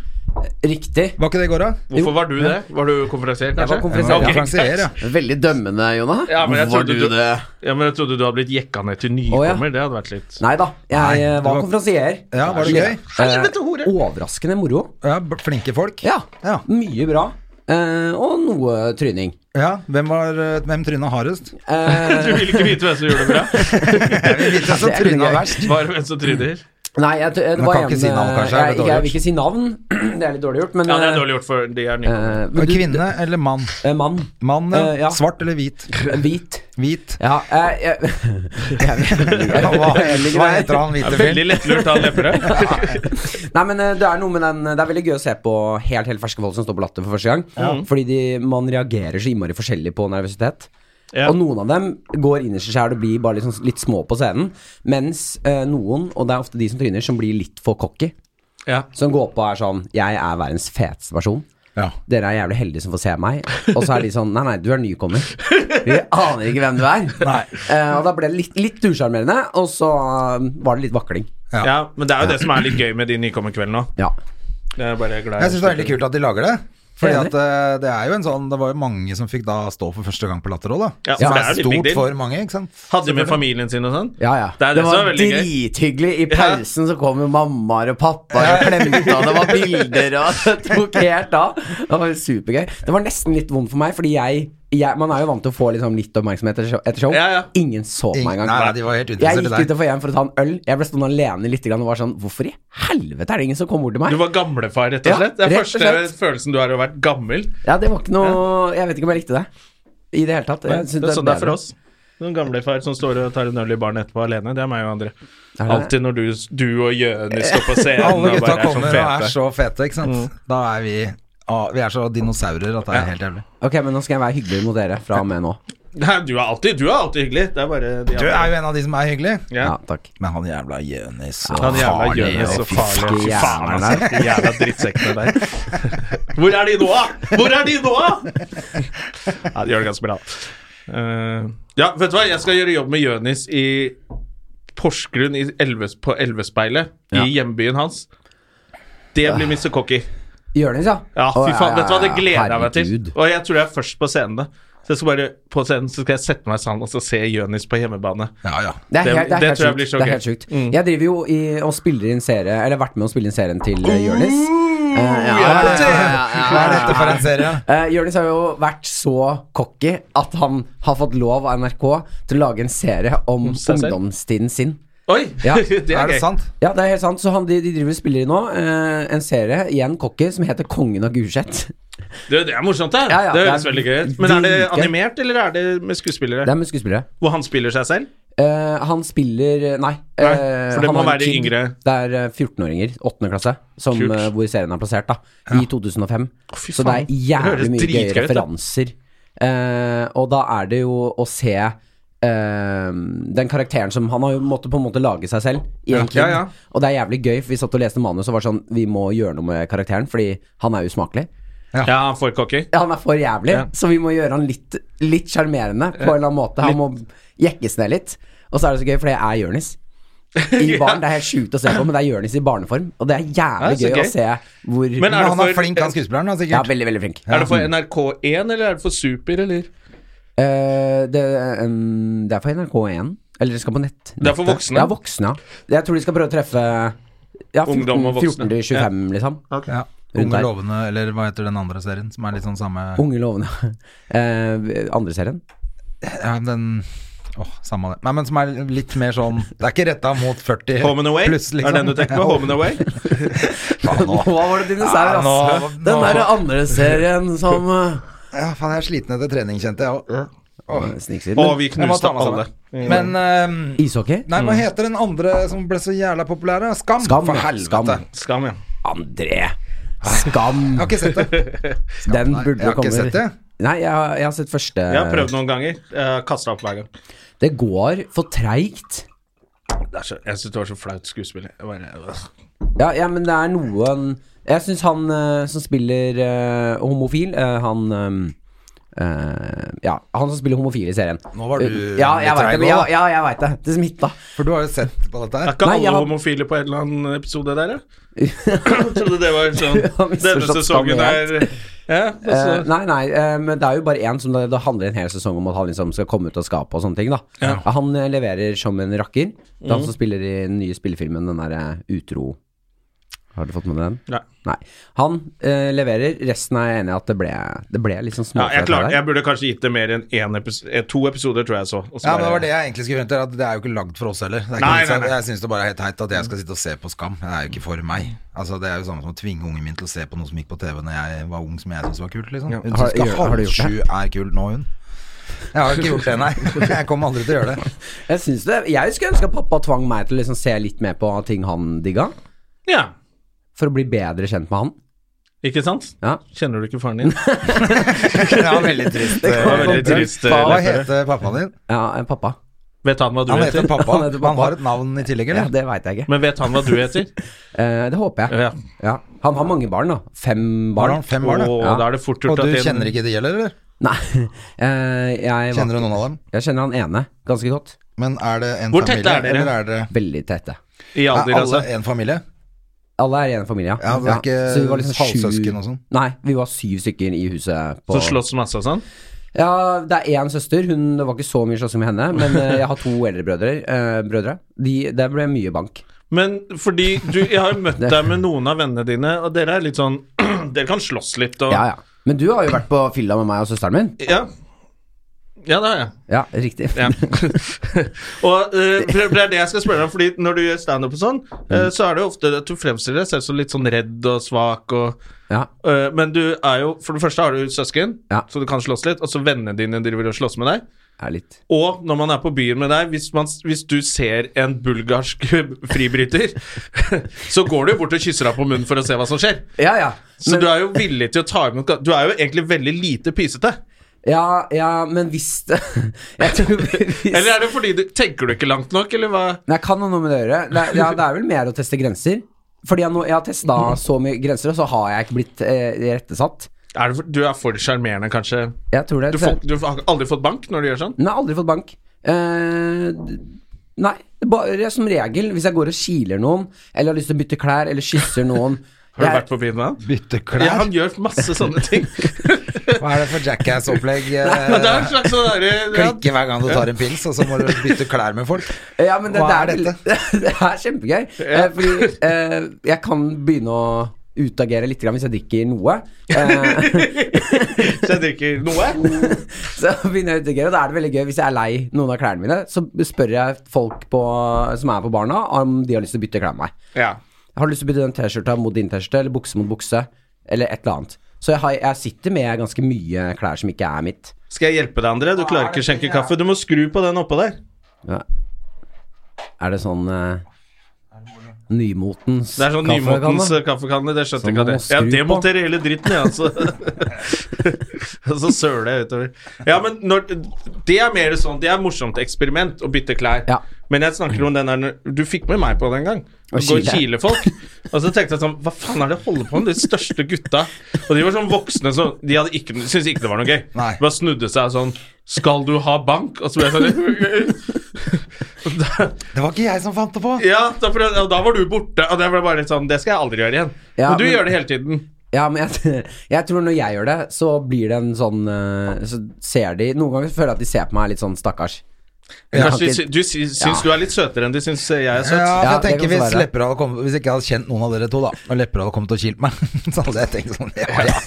C: Riktig.
B: Var ikke det i går, da?
A: Hvorfor var du det? Var du konferansier, kanskje?
C: Jeg var konferansier,
A: Ok,
B: ja. Konferansier, ja.
D: Veldig dømmende, Jonna.
A: Ja, men jeg
D: Hvorfor var
A: trodde
D: du,
A: du-
D: det?
A: Ja, men jeg trodde du hadde blitt jekka ned til
C: Å, ja.
A: nykommer. Det hadde vært litt
C: Nei da, jeg
B: Nei,
C: eh,
B: det
C: var
B: var-
C: konferansier. Eh,
B: Ja, var det gøy?
A: Helvete, hore!
C: Overraskende moro.
B: Ja, b- Flinke folk?
C: Ja,
B: Ja.
C: mye bra. Eh, og noe tryning.
B: Ja, Hvem, var, eh, hvem tryna hardest?
C: Eh,
A: Du vil ikke vite hvem som gjorde det bra?
B: Hvem som
C: det er
B: tryna
C: gøy.
B: verst?
A: Var det hvem som tryner?
C: nei, jeg, det
B: Man
C: var
B: kan ikke
C: en,
B: si navn,
C: eh,
B: kanskje, er det
C: Jeg,
B: dårlig
C: jeg vil ikke si navn. Det er litt dårlig gjort, men
A: Ja, det er
C: eh,
A: dårlig gjort, for de er nykommer.
C: eh, men
B: Og
C: du-
B: Kvinne eller mann?
C: eh, mann.
B: Mann, ja.
C: Eh, ja.
B: Svart eller hvit?
C: Hvit.
B: Hvit.
C: Ja, eh, jeg, jeg vet ikke.
B: Hva,
C: Veldig
B: hva
C: greit.
B: heter han
A: Det
B: hvite
A: er veldig
B: fyren?
A: lettlurt, han Lepperød.
C: Nei, men eh, det er noe med den Det er veldig gøy å se på helt helt ferske folk som står på latter for første gang. Fordi de, man reagerer så innmari forskjellig på nervøsitet.
A: Ja.
C: Og noen av dem går innerst i seg og blir bare litt sånn- litt små på scenen. Mens eh, noen, og det er ofte de som tryner, som blir litt for cocky.
A: Ja.
C: Som går på og er sånn Jeg er verdens feteste person.
B: Ja.
C: Dere er jævlig heldige som får se meg. Og så er de sånn Nei, nei, du er nykommer. Vi aner ikke hvem du er. Eh, og da ble det litt, litt usjarmerende, og så eh, var det litt vakling.
B: Ja.
A: Ja, men det er jo det som er litt gøy med de nykommerkveldene òg.
C: Ja.
A: Jeg er bare glad
B: Jeg syns det er veldig kult at de lager det. Fordi
C: Enig.
B: at eh, Det er jo en sånn Det var jo mange som fikk da stå for første gang på Latter òg, da.
A: Ja,
B: Som
A: for det
B: er
A: er jo litt big
B: stort
A: deal.
B: for mange, ikke sant.
A: Hadde med familien sin og sånn?
C: Ja, ja.
A: Det er det,
D: Det
A: som er
D: var
A: veldig gøy.
D: drithyggelig. I pausen så kom jo mammaer og pappaer og klemte, og det var bilder og det tok
C: Helt av. Det var supergøy. Det var nesten litt vondt for meg, fordi jeg, jeg Man er jo vant til å få liksom litt oppmerksomhet etter show. Etter show.
A: Ja, ja.
C: Ingen så på
B: Ingen-
C: meg engang.
B: Nei, nei, de var helt
C: jeg
B: utinteresserte
C: gikk
B: der.
C: utenfor hjem for å ta en øl. Jeg ble stående alene litt grann og var sånn Hvorfor i helvete er det ingen som kommer bort til meg?
A: Du var gamlefar, rett og
C: Ja,
A: slett? Det er
C: rett og
A: første
C: slett.
A: følelsen du har av å ha vært gammel.
C: Ja, det var ikke noe Jeg vet ikke om jeg likte det. I det hele tatt. Jeg
A: Det
C: synes
A: er sånn det er
C: bedre.
A: for oss. Noen gamlefar som står og tar en øl i baren etterpå alene. Det er meg og andre.
C: det?
A: Alltid når du, du og Jønis står på scenen
B: Alle
A: og
B: gutta
A: bare er sånn
B: kommer og er
A: fete.
B: så fete, ikke sant. Da er vi ah, Vi er så dinosaurer at det er helt jævlig.
C: Ok, men nå skal jeg være hyggelig mot dere fra og med nå.
A: Nei, du er alltid, du er alltid hyggelig. Det er bare de
B: Du er jo en av de som er hyggelig.
A: Ja.
C: Ja, takk.
B: Men han jævla Jønis og
A: Han jævla Jønis og farlig. Fy faen, altså. De jævla drittsekkene der. Hvor er de nå, da? Hvor er de nå, da? Ja, de gjør det ganske bra. Eh, ja, vet du hva? Jeg skal gjøre jobb med Jønis i Porsgrunn i Elves, på Elvespeilet. I hjembyen hans. Det blir Mr. Cocky.
C: Jonis, ja.
A: Ja,
C: Å,
A: fy faen. Vet du hva, det gleder jeg meg
C: herregud.
A: til. Og jeg tror jeg er først på scenen, da. Så jeg skal bare på scenen, så skal jeg sette meg sammen og så se Jønis på hjemmebane.
B: Ja, ja.
C: Det er
A: Det-
C: helt, det er
A: det
C: helt
A: tror jeg
C: sjukt.
A: blir så
C: Det
A: gøy. Mm.
C: er helt sjukt. Jeg driver jo i, og spiller inn serie Eller har vært med å spille inn serien til uh, Jonis. eh,
B: ja,
C: ja,
B: ja, ja. Hva er dette for en serie?
C: Eh, Jonis har jo vært så cocky at han har fått lov av NRK til å lage en serie om
A: Mm, seg selv?
C: ungdomstiden sin.
A: Oi!
C: Ja.
A: det er,
B: Er
A: gøy.
B: det sant?
C: Ja, det er helt sant. Så han, de, de driver og spiller i nå eh, en serie, igjen cocky, som heter Kongen av Gulset.
A: Det, det er morsomt, det.
C: Ja, ja,
A: det
C: det er
A: høres veldig gøy ut. Men er det
C: dritgøy.
A: animert, eller er det med skuespillere?
C: Det er med skuespillere.
A: Hvor han spiller seg selv?
C: Eh, han spiller Nei.
A: Nei,
C: eh,
A: for det
C: han
A: må
C: har en
A: være de
C: kid.
A: yngre.
C: Det er eh, 14-åringer, 8. klasse, som,
A: Kult.
C: eh, hvor serien er plassert, da. I 2005.
A: fy
C: så
A: faen.
C: det er
A: Det høres
C: jævlig mye gøye
A: dritgøy ut, da.
C: referanser. Eh, og da er det jo å se eh, den karakteren som Han har jo måttet på en måte lage seg selv. I en kid.
A: ja, ja.
C: Og det er jævlig gøy, for vi satt og leste manus og var sånn Vi må gjøre noe med karakteren, fordi han er usmakelig.
A: Ja, han får cocky.
C: Ja, han er for jævlig, så vi må gjøre han litt Litt sjarmerende på en eller annen måte. Han må jekkes ned litt. Og så er det så gøy, for det er Jonis. I barn, Det er helt sjukt å se på, men det er Jonis i barneform. Og det er jævlig
A: Ja, så
C: gøy,
A: gøy.
C: å se hvor
A: Men
B: Men
A: er det
B: han er
A: for-
B: flink, han skuespilleren, da,
C: Ja,
B: sikkert.
C: veldig, veldig flink.
A: Er det for NRK1, eller er det for Super, eller?
C: Eh, det, em, det er for NRK1. Eller det skal på nett.
A: Det er for voksne.
C: Ja, voksne, ja. Jeg tror de skal prøve å treffe ja, 14,
A: Ungdom og voksne.
C: 14 til 25, liksom.
B: Ja.
C: Rundt
B: Unge
C: der.
B: lovende, eller hva heter den andre serien som er litt sånn samme
C: Unge lovende. Eh, andre serien.
B: ja, den, åh, samme av det. Nei, men som er litt mer sånn Det er ikke retta mot 40
A: Home and Away?
B: pluss, liksom.
A: Er det den du tenker på? Home and Away?
B: Faen,
C: Nå
B: nå.
C: var det dinosaur,
B: Ja,
C: ass.
B: nå- nå-
C: Den derre andre serien som eh,
B: Ja, faen, jeg er sliten etter trening, kjente jeg. Åh.
C: Sniksiden.
A: Å, vi
B: Jeg må
A: knuste
B: ta meg
A: alle. Mm.
B: sammen. Men ehm,
C: Ishockey?
B: Nei, hva heter den andre som ble så jævla populær? da? Skam,
C: Skam,
B: for
C: ja.
B: helvete.
C: Skam.
A: Skam, ja.
C: André! Skam!
B: Jeg har ikke sett det.
C: Den
B: Nei,
C: burde
B: jeg har
C: komme.
B: ikke sett det.
C: Nei, jeg har, jeg har sett første
A: Jeg har prøvd noen ganger. Jeg Kasta opp hver gang.
C: Det går for treigt.
A: Det er så, jeg syns det var så flaut skuespiller. Jeg bare, øh.
C: Ja, ja, men det er noen Jeg syns han eh, som spiller eh, homofil, eh, han eh, eh, ja, han som spiller homofil i serien. Eh,
B: Nå var du
C: ja, jeg
B: litt
C: vet
B: treig
C: det, men ja,
B: også, da.
C: ja, jeg vet det. Det smitta.
B: For du har jo sett på dette
A: Er
B: her.
A: ikke
C: Nei, jeg
A: alle
C: har-
A: homofile på en eller annen episode der, da? Jeg trodde det var sånn
C: har misforstått
A: Denne sesongen
C: skam
A: er ja,
C: Eh,
A: altså,
C: nei, nei, eh, men det er jo bare én som det, det handler en hel sesong om at han liksom skal komme ut av skapet og sånne ting, da. Ja, Han eh, leverer som en rakker. Det er han som spiller i den nye spillefilmen, den derre Utro Har du fått med deg den?
A: Nei.
C: Han eh, leverer. Resten er jeg enig i at det ble, det ble litt sånn
A: ja, jeg,
C: småfett
A: klar,
C: der.
A: jeg burde kanskje gitt det mer enn en episode, eh, to episoder, tror jeg så. og så
B: Ja, men Det
A: bare-
B: var det jeg egentlig skulle frem til. At det er jo ikke lagd for oss heller. Det er ikke
A: Nei,
B: vits i at-
A: nei, nei.
B: Jeg syns det bare er helt teit at jeg skal sitte og se på Skam. Det er jo ikke for meg. Altså Det er jo samme som å tvinge ungen min til å se på noe som gikk på TV Når jeg var ung, som jeg syntes var kult. liksom Hun
C: Har-
B: syns ikke
C: gjør- har du
B: halv
C: gjort
B: sju er kult nå, hun. Jeg har ikke gjort det, nei. Jeg kommer aldri til å gjøre det.
C: Jeg syns det. Jeg skulle ønske at pappa tvang meg til å liksom se litt mer på ting han digga,
A: Ja,
C: for å bli bedre kjent med han.
A: ikke sant?
C: Ja.
A: Kjenner du ikke faren din?
B: Det var veldig trist.
A: Det var veldig
B: eh,
A: trist. eh,
B: Hva
A: Leif.
B: heter pappaen din?
C: Ja, eh, pappa.
A: Vet han hva du
B: Han
A: heter?
B: heter pappa.
C: Han heter pappa.
B: Han har et navn i tillegg,
C: Ja,
B: eller?
C: det veit jeg ikke.
A: Men vet han hva du heter?
C: Eh, det håper jeg.
A: Ja.
C: Ja. Han har mange barn, da. Fem
B: Har
C: barn.
B: han fem barn, da?
A: Og
C: Ja.
A: da er det fort
B: Og
A: gjort
B: du
A: at en-
B: kjenner ikke de gjelder, eller?
C: Nei, eh, jeg,
B: Kjenner du noen av dem?
C: jeg kjenner han ene ganske godt.
B: Men er det en
A: Hvor tette
B: familie?
A: er dere?
B: Eller er det
C: Veldig tette.
A: i
B: er
A: alder,
B: alle
A: altså?
B: en familie?
C: Alle er i en familie,
B: Ja, det er ikke
C: liksom sju-
B: halvsøsken og sånn?
C: Nei, vi var syv stykker i huset. På,
A: Så slåss masse og sånn?
C: Ja, det er én søster. Hun, det var ikke så mye slåssing med henne. Men eh, jeg har to eldre brødre. eh, brødre. De, det ble mye bank.
A: Men fordi du, jeg har jo møtt deg med noen av vennene dine, og dere er litt sånn Dere kan slåss litt og
C: Ja, ja. Men du har jo vært på fylla med meg og søsteren min.
A: Ja, Ja, det har jeg.
C: Ja, riktig.
A: Ja. og eh, for det er det jeg skal spørre deg om, Fordi når du gjør standup og sånn,
C: Mm.
A: eh, så er det jo ofte at du fremstiller deg selv som litt sånn redd og svak og
C: Ja.
A: eh, Men du er jo For det første har du søsken,
C: Ja.
A: så du kan slåss litt, og så vennene dine driver og slåss med deg.
C: Er litt.
A: Og når man er på byen med deg, hvis, man, hvis du ser en bulgarsk fribryter, så går du jo bort og kysser deg på munnen for å se hva som skjer.
C: Ja, ja.
A: Så du er jo villig til å ta imot Du er jo egentlig veldig lite pysete.
C: Ja, ja, men hvis det Jeg tror hvis
A: Eller er det fordi du tenker du ikke langt nok, eller hva?
C: Nei, kan ha noe med det å gjøre. Det er- Ja, det er vel mer å teste grenser. Fordi jeg, nå, jeg har testa
A: Mm.
C: så mye grenser, og så har jeg ikke blitt eh, rettesatt.
A: Er det for, du er for sjarmerende, kanskje?
C: Jeg tror det.
A: Du, får, du har aldri fått bank når du gjør sånn?
C: Nei, aldri fått bank. Eh, d- nei, det er bare som regel hvis jeg går og kiler noen, eller har lyst til å bytte klær, eller kysser noen
A: Har du
C: jeg-
A: vært på byen med han?
B: Bytte
A: Ja,
B: klær?
A: han gjør masse sånne ting.
B: Hva er det for jackass-opplegg? eh,
A: Men det er en slags sånn derre
B: Klikke hver gang du tar en pils, og så må du bytte klær med folk?
C: Ja, men det,
B: Hva
C: det
B: er
C: er, det er kjempegøy. Eh, fordi eh, jeg kan begynne å utagere litt grann hvis jeg drikker noe. Eh,
A: Så jeg drikker noe.
C: så begynner jeg å utagere, og da er det veldig gøy hvis jeg er lei noen av klærne mine, så spør jeg folk på, som er på barna, om de har lyst til å bytte klær med meg.
A: Ja.
C: Jeg har lyst til å bytte den T-skjorta mot din T-skjorte, eller bukse mot bukse, eller et eller annet. Så jeg, har, jeg sitter med ganske mye klær som ikke er mitt.
A: Skal jeg hjelpe deg, André? Du klarer ikke å skjenke kaffe. Du må skru på den oppå der.
C: Ja. Er det sånn eh, nymotens
A: Det er sånn
C: kaffekanne?
A: nymotens kaffekanne. Det skjønte
C: Som
A: ikke
C: man må
A: jeg. Jeg
C: skru på.
A: demonterer hele dritten, jeg, altså. Og så søler jeg utover. Ja, men når, det er mer sånn Det er morsomt eksperiment å bytte klær.
C: Ja.
A: Men jeg snakker om den der Du fikk med meg på den gang. Du
C: Å
A: går og
C: kile.
A: kiler folk. Og så tenkte jeg sånn Hva faen er det jeg holder på med, de største gutta? Og de var sånn voksne som De hadde ikke, syntes ikke det var noe gøy.
B: Nei.
A: De Bare snudde seg og sånn Skal du ha bank? Og så ble jeg sånn da,
B: Det var ikke jeg som fant det på!
A: ja, da, for, og da var du borte, og det ble bare litt sånn Det skal jeg aldri gjøre igjen.
C: Ja,
A: men du
C: men-
A: gjør det hele tiden.
C: Ja, men jeg, jeg tror når jeg gjør det, så blir det en sånn eh, Så ser de Noen ganger føler jeg at de ser på meg litt sånn stakkars. Jeg kan
A: Kanskje,
C: ikke-
A: de sy- du sy- syns du er litt søtere enn de syns jeg er søt.
B: Ja, for
C: Ja,
B: jeg
C: det
B: tenker
C: kan så
B: hvis
C: være.
B: Lepperød hadde kommet Hvis jeg ikke hadde kjent noen av dere to, da, og Lepperød hadde kommet og kilt meg, så hadde jeg tenkt sånn Ja, ja.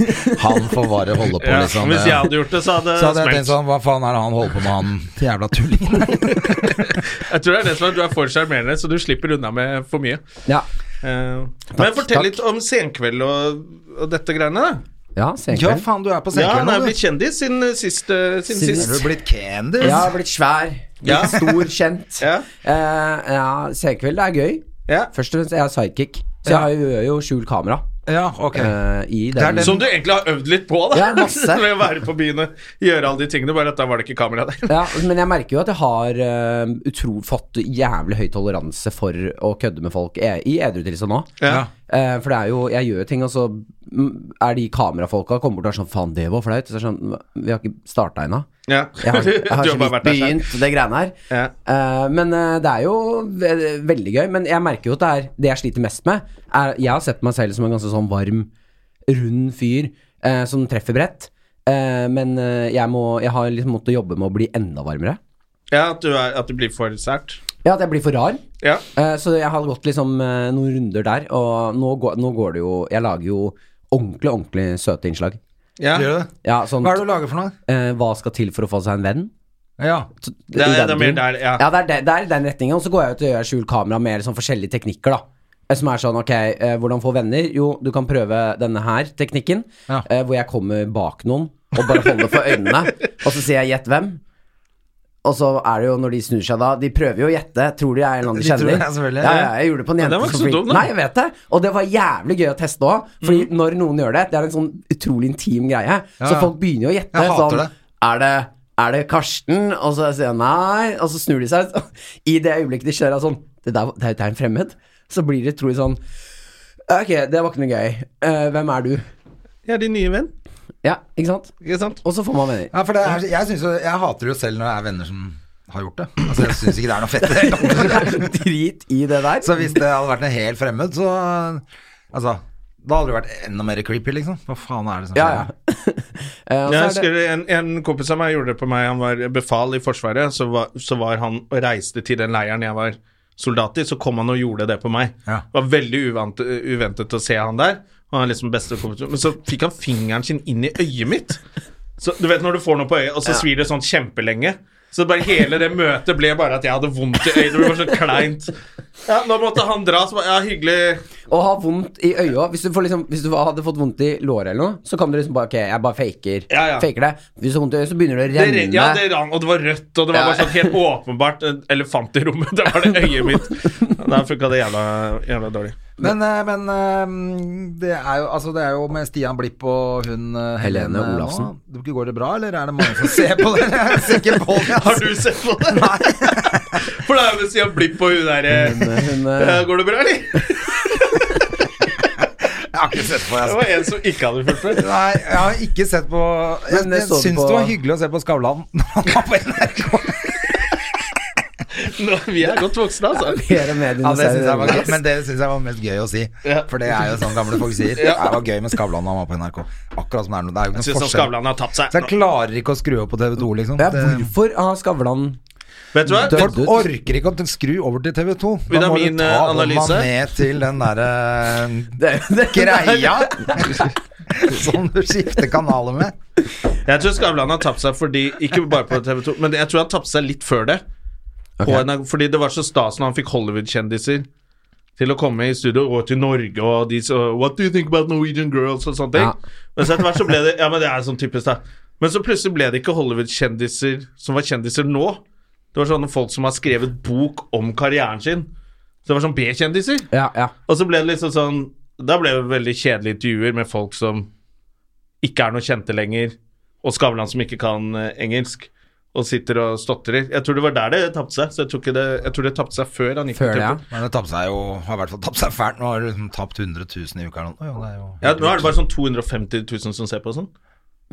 B: Han får bare holde på,
A: Ja,
B: liksom.
A: Hvis jeg hadde gjort det, så hadde
B: så hadde jeg
A: det
B: tenkt sånn Hva faen er det han holder på med, han jævla tullingen?
A: Jeg tror det er det som er at du er for sjarmerende, så du slipper unna med for mye.
C: Ja.
A: Eh, men fortell
C: takk.
A: litt om senkveld og, og dette greiene. da.
C: ja
B: Ja,
C: senkveld.
B: faen, du er på
A: Ja, han
B: senkveld
A: er jo
B: nå,
A: blitt
B: du.
A: kjendis siden eh, sist. eh, Siden
C: Siden-
A: sist.
B: Er du blitt
C: Jeg
B: Candice?
C: har blitt svær, blitt
A: Ja.
C: stor, kjent.
A: Ja.
C: Eh, ja, senkveld er gøy.
A: Ja.
C: Først og fremst er jeg sidekick, så jeg har jo- gjør jo skjult kamera
B: Ja, ok.
C: eh, i den.
B: er den-
A: Som du egentlig har øvd litt på, da.
C: Ja, masse.
A: Ved å være på byen og gjøre alle de tingene. Bare at da var det ikke kamera der.
C: Ja, men jeg merker jo at jeg har eh, utro, fått jævlig høy toleranse for å kødde med folk e i edru tilstand nå.
A: Ja.
C: Eh, for det er jo, jeg gjør jo ting, og så mm, er de kamerafolka kommer bort og er sånn Faen, det var flaut. Så er det sånn, Vi har ikke starta ennå.
A: Ja.
C: Jeg har, jeg har
A: Du
C: så
A: har bare
C: vidt
A: vært der selv.
C: begynt, det greiene her.
A: Ja.
C: Eh, men eh, det er jo ve- veldig gøy. Men jeg merker jo at det er det jeg sliter mest med. Er, jeg har sett meg selv som en ganske sånn varm, rund fyr eh, som treffer bredt. Eh, men eh, jeg, må, jeg har liksom måttet jobbe med å bli enda varmere.
A: Ja, at du, er, at du blir for sært.
C: Ja, at jeg blir for rar.
A: Ja.
C: Eh, så jeg har gått liksom eh, noen runder der, og nå går, nå går det jo Jeg lager jo ordentlig, ordentlig søte innslag.
A: ja.
B: Gjør du det?
C: Ja, sånn
B: Hva er det du lager for noe?
C: eh, Hva skal til for å få seg en venn?
B: Ja.
C: Så-
A: Det er-
C: i
A: det er
C: den
A: mer
C: duren.
A: der, ja.
C: det er, det, det er i den retningen. Og så går jeg ut og gjør skjult kamera med liksom forskjellige teknikker, da. Eh, Som er sånn, ok, eh, hvordan få venner? Jo, du kan prøve denne her teknikken,
B: Ja.
C: eh, hvor jeg kommer bak noen og bare holder for øynene, og så sier jeg 'gjett hvem'? Og så er det jo når de snur seg da De prøver jo å gjette. Tror de er en eller annen de
B: De tror
C: kjenner.
B: det, selvfølgelig.
C: ja, ja, jeg gjorde det på en jente
A: den var ikke
C: som
A: så
C: flink-
A: dum, da.
C: Nei, jeg vet det. Og det var jævlig gøy å teste òg. Fordi når noen gjør det, det er en sånn utrolig intim greie.
B: Ja,
C: Så
B: ja.
C: folk begynner jo å gjette.
B: Jeg hater
C: sånn,
B: det.
C: Er det er det Karsten? Og så sier jeg nei, og så snur de seg. I det øyeblikket de kjører sånn Det der det er jo- det er en fremmed. Så blir det trolig sånn Ok, det var ikke noe gøy. Eh, hvem er du?
A: Jeg er din nye venn.
C: Ja, ikke sant?
A: Ikke sant?
C: Og så får man venner.
B: ja for det er, jeg, synes jo, jeg hater det jo selv når det er venner som har gjort det. Altså, jeg syns ikke det er noe fett i det hele tatt.
C: Drit i det der.
B: Så hvis det hadde vært en helt fremmed, så Altså, da hadde det vært enda mer creepy, liksom. Hva faen er det som
C: ja, ja. Eh,
A: Jeg
C: og så er det-
A: husker en, en kompis av meg gjorde det på meg. Han var befal i Forsvaret. Så var, så var han og reiste til den leiren jeg var soldat i. Så kom han og gjorde det på meg.
B: Ja.
A: Det var veldig uvant, uventet å se han der. Han er liksom beste kompis. Men så fikk han fingeren sin inn i øyet mitt. Så, du vet når du får noe på øyet, og så svir det sånn kjempelenge. Så bare hele det møtet ble bare at jeg hadde vondt i øyet. Det ble bare så kleint. Ja, nå måtte han dra. Så bare, ja, hyggelig.
C: Å ha vondt i øya Hvis du, får liksom, hvis du hadde fått vondt i låret eller noe, så kan du liksom bare Ok, jeg bare faker,
A: Ja, ja.
C: faker det. Hvis du har vondt i øyet, så begynner det å
A: Det,
C: renne.
A: re- ja, det rann, og det var rødt, og det var bare sånn helt åpenbart en elefant i rommet. Der var det øyet mitt. Der funka det jævla, jævla dårlig.
B: Men, eh, men eh, det, er jo, altså, det er jo med Stian Blipp og hun eh,
C: Helene
B: nå.
C: Olafsen.
B: Du- Går det bra, eller er det mange som ser på det? Jeg er sikker på det.
A: Har
B: Altså.
A: du sett på det? Nei. For det er jo ved siden av Blipp og hun der eh,
C: Hun, eh,
A: eh, Går det bra, eller?
B: Jeg har ikke sett på det.
A: Det
B: Altså.
A: var en som ikke hadde fulgt med.
B: Nei, jeg har ikke sett på Jeg,
C: Men det
B: jeg
C: så du
B: syns
C: på-
B: det var hyggelig å se på Skavlan når han var på NRK.
A: Nå, Vi er godt voksne, altså.
C: Mer og mer
B: Ja, det synes jeg var gøy,
C: dinosaur-
B: men det syns jeg var mest gøy å si.
A: Ja.
B: For det er jo sånn gamle folk sier. Det var gøy med Skavlan da han var på NRK. Akkurat som det er nå. Det er jo
A: Jeg
B: ikke noe
A: syns
B: forskjell.
A: Skavlan har tatt
B: Så
A: seg.
B: jeg klarer ikke å skru opp på TV 2, liksom.
C: ja,
B: Det-
C: Hvorfor har Skavlan
A: Vet du hva?
C: Død.
B: Folk orker ikke å skru over til TV 2.
A: Vil du
B: Da
A: ha
B: må du
A: min,
B: ta
A: eh,
B: hånda
A: analyse?
B: ned til den derre
D: Det er jo det.
B: greia som du skifter kanaler med.
A: Jeg tror Skavlan har tapt seg fordi Ikke bare på TV 2, men jeg tror han tapte seg litt før det. På NRK, fordi det var så stas når han fikk Hollywood-kjendiser til å komme i studio og til Norge og de så What do you think about Norwegian girls? og sånne ting.
C: Ja.
A: Men så etter hvert så ble det Ja, men det er sånn typisk, da. Men så plutselig ble det ikke Hollywood-kjendiser som var kjendiser nå. Det var sånne folk som har skrevet bok om karrieren sin. Så det var sånn B-kjendiser.
C: Ja, ja.
A: Og så ble det liksom sånn Da ble det veldig kjedelige intervjuer med folk som ikke er noe kjente lenger, og Skavlan som ikke kan eh, engelsk, og sitter og stotrer. Jeg tror det var der det tapte seg, så jeg tror, ikke det, jeg tror det tapte seg før han gikk
C: Før det, ja.
A: tempo.
B: Men det tapte seg jo, har i hvert fall tapt seg fælt. Nå har du liksom tapt 100 000 i uka eller noe. Å, ja, det er jo-
A: Ja, nå er det bare sånn 250 000 som ser på og sånn.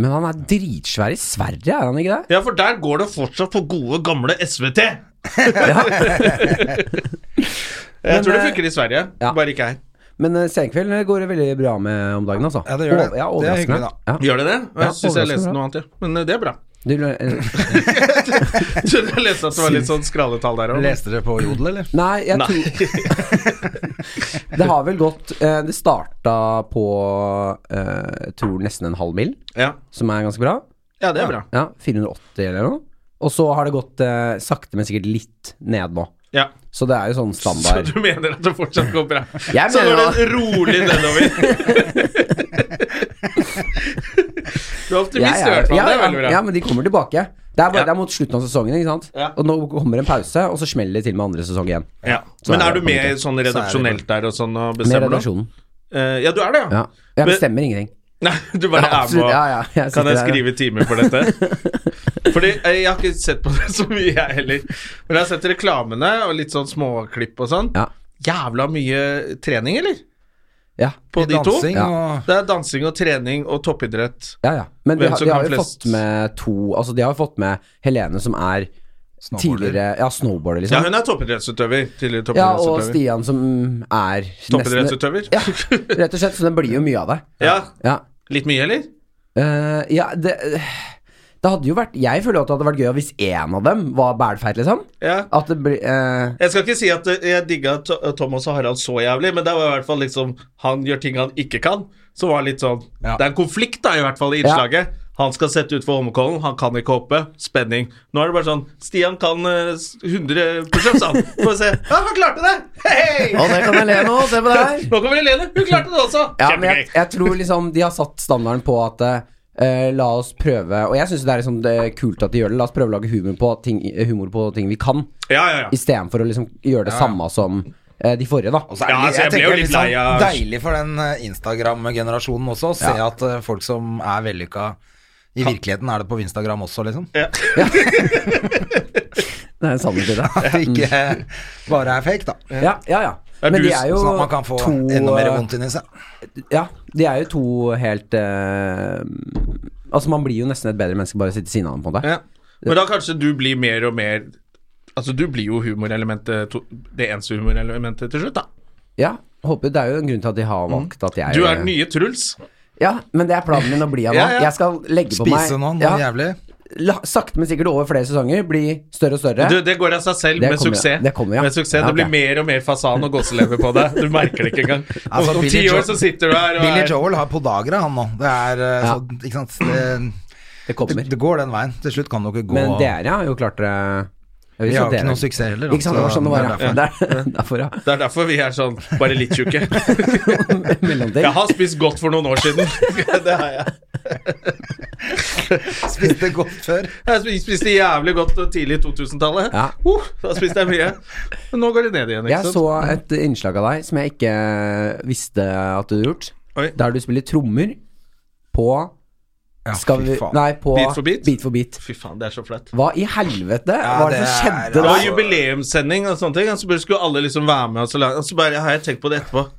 C: Men han er dritsvær i Sverige, er han ikke det?
A: Ja, for der går det fortsatt på gode, gamle SVT! jeg tror det funker i Sverige,
C: eh, Ja.
A: bare ikke her.
C: Men uh, Senkveld går det veldig bra med om dagen, altså.
B: Ja, det gjør det.
C: Over- Ja,
B: Det er hyggelig,
C: overraskende. Ja.
A: Gjør det det?
C: Ja,
A: Jeg syns jeg
C: overraskende
A: leste
C: bra.
A: noe annet, ja. Men eh, det er bra.
C: Du, eh,
A: Så jeg leste at det var litt sånn skralletall der òg.
B: Leste dere på Jodel, eller?
C: nei, jeg
A: Nei.
C: tror Det har vel gått eh, Det starta på eh, jeg tror nesten en halv mil,
A: Ja.
C: som er ganske bra.
A: ja, det er bra.
C: Ja, 480 eller noe. Og så har det gått eh, sakte, men sikkert litt ned nå.
A: Ja.
C: Så det er jo sånn
A: Så
C: standard.
A: du mener at det fortsatt går bra?
C: Jeg
A: så
C: mener
A: går det rolig nedover. du er optimist i
C: Jeg er-
A: hvert fall.
C: ja,
A: det er
C: ja,
A: veldig bra.
C: ja, men de kommer tilbake. Det er, bare,
A: Ja.
C: det er mot slutten av sesongen, ikke sant.
A: Ja.
C: Og nå kommer en pause, og så smeller det til med andre sesong igjen.
A: Ja.
C: Så
A: Men
C: er
A: er
C: det
A: du med
C: kommet.
A: sånn redaksjonelt der og sånn og
C: Med
A: bestemmer noe?
C: redaksjonen.
A: Eh, ja, du er det, ja?
C: Ja. Jeg
A: Men-
C: bestemmer ingenting.
A: Nei, du bare
C: Ja,
A: er med
C: absolutt.
A: og
C: Ja, ja, jeg
A: Kan
C: sitter
A: jeg
C: der, ja.
A: skrive timer for dette? Fordi eh, jeg har ikke sett på det så mye, jeg heller. Men jeg har sett reklamene og litt sånn småklipp og sånn.
C: Ja.
A: Jævla mye trening, eller?
C: Ja.
A: På de to?
B: Dansing
C: Ja.
B: og
A: Det er dansing og trening og toppidrett.
C: Ja, ja. Men de,
A: Hvem
C: har-
A: som
C: de
A: kan
C: har jo
A: flest-
C: fått med to Altså, de har jo fått med Helene, som er tidligere Ja, snowboarder,
A: Ja,
C: liksom.
A: hun er toppidrettsutøver. Tidligere
C: Ja, og
A: toppidrettsutøver.
C: Stian, som er nesten
A: toppidrettsutøver.
C: Ja, rett og slett. Så det blir jo mye av det.
A: Ja.
C: Ja.
A: Litt mye, eller?
C: Eh, ja, det Det hadde jo vært Jeg føler jo at det hadde vært gøy hvis én av dem var bælfeit, liksom.
A: Ja.
C: At det blir eh,
A: Jeg skal ikke si at eh, jeg digga To- Thomas og Harald så jævlig, men det var i hvert fall liksom Han gjør ting han ikke kan, så var det litt sånn
B: Ja.
A: Det er en konflikt, da, i hvert fall, i innslaget. Han skal sette ut for Holmenkollen, han kan ikke hoppe. Spenning. Nå er det bare sånn Stian kan eh, 100 pushups, han. Får vi se. Ja, han klarte det! Hei!
C: Å, det kan jeg le nå. Se på det her.
A: Nå kommer Helene. Hun klarte det også.
C: Ja, men jeg,
A: Kjempegøy.
C: jeg tror liksom de har satt standarden på at eh, la oss prøve Og jeg syns det er liksom det er kult at de gjør det. La oss prøve å lage humor på ting, humor på ting vi kan,
A: Ja, ja, ja.
C: istedenfor å liksom gjøre det samme som eh, de forrige, da.
B: Og så er det,
A: Ja, altså,
B: jeg,
A: jeg ble jo
B: tenker
A: litt
B: litt sånn
A: lei av-
B: deilig for den eh, Instagram-generasjonen også, å se at eh, folk som er vellykka i virkeligheten, er det på Instagram også, liksom.
C: Det er en sannhet i det.
B: At det ikke eh, bare er fake, da.
C: Ja, ja, ja.
A: er
C: Men
A: du
C: de er jo
B: Sånn at man kan få
C: to
B: enda mer
C: eh,
B: vondt inni seg.
C: Ja, de er jo to helt eh, Altså, man blir jo nesten et bedre menneske bare å sitte ved siden av dem, på en måte.
A: ja. Men da kanskje du blir mer og mer Altså, du blir jo humorelementet to- Det eneste humorelementet til slutt, da.
C: Ja, håper Det er jo en grunn til at de har valgt at jeg
A: Mm. Du er den nye Truls.
C: Ja, men det er planen min å bli av nå.
A: Ja, ja.
C: Jeg skal legge på meg
B: Spise noen noe
C: ja,
B: jævlig.
C: la, Sakte, men sikkert over flere sesonger. Bli større og større.
A: Du, det går av seg selv
C: Det
A: med
C: kommer,
A: suksess.
C: det kommer, ja.
A: Med suksess,
C: Ja,
A: Det blir
C: ok.
A: mer og mer fasan og gåselever på deg. Du merker det ikke engang.
B: Altså,
A: om om ti
B: Billy
A: år
B: Joel-
A: så sitter du her og
B: Billy
A: er
B: Joel har podagra, han nå. Det er eh,
C: Ja.
B: så, Ikke sant. Det,
C: det kommer.
B: det, det går den veien. Til slutt kan du ikke gå
C: men dere har jo klart det. Jeg
B: Vi
C: visste
B: har jo
C: at
B: ikke
C: dere-
B: noe suksess heller. altså.
C: Ikke sant, det var sånn det var. Ja. Det er derfor, ja.
A: Det er derfor vi er sånn bare litt tjukke.
C: Mellomting.
A: Jeg har spist godt for noen år siden. Det har jeg.
B: Jeg spiste godt før.
A: Jeg spi- spiste jævlig godt tidlig i 2000-tallet.
C: Ja.
A: Uh, da spiste jeg mye. Men nå går det ned igjen, ikke
C: Jeg
A: sant.
C: så et innslag av deg som jeg ikke eh, visste at du hadde gjort.
A: Oi.
C: Der du spiller trommer på
B: Ja,
C: skal
B: fy
C: vi,
B: faen.
C: Nei, på
A: Beat for beat?
C: Beat for beat.
A: Fy faen, det er så flaut.
C: Hva i helvete var det,
B: det
C: som
B: er-
C: skjedde
A: Det var
B: Altså-
A: jubileumssending og sånne ting, og så bare skulle alle liksom være med. Og så, lage, og så bare har jeg tenkt på det etterpå.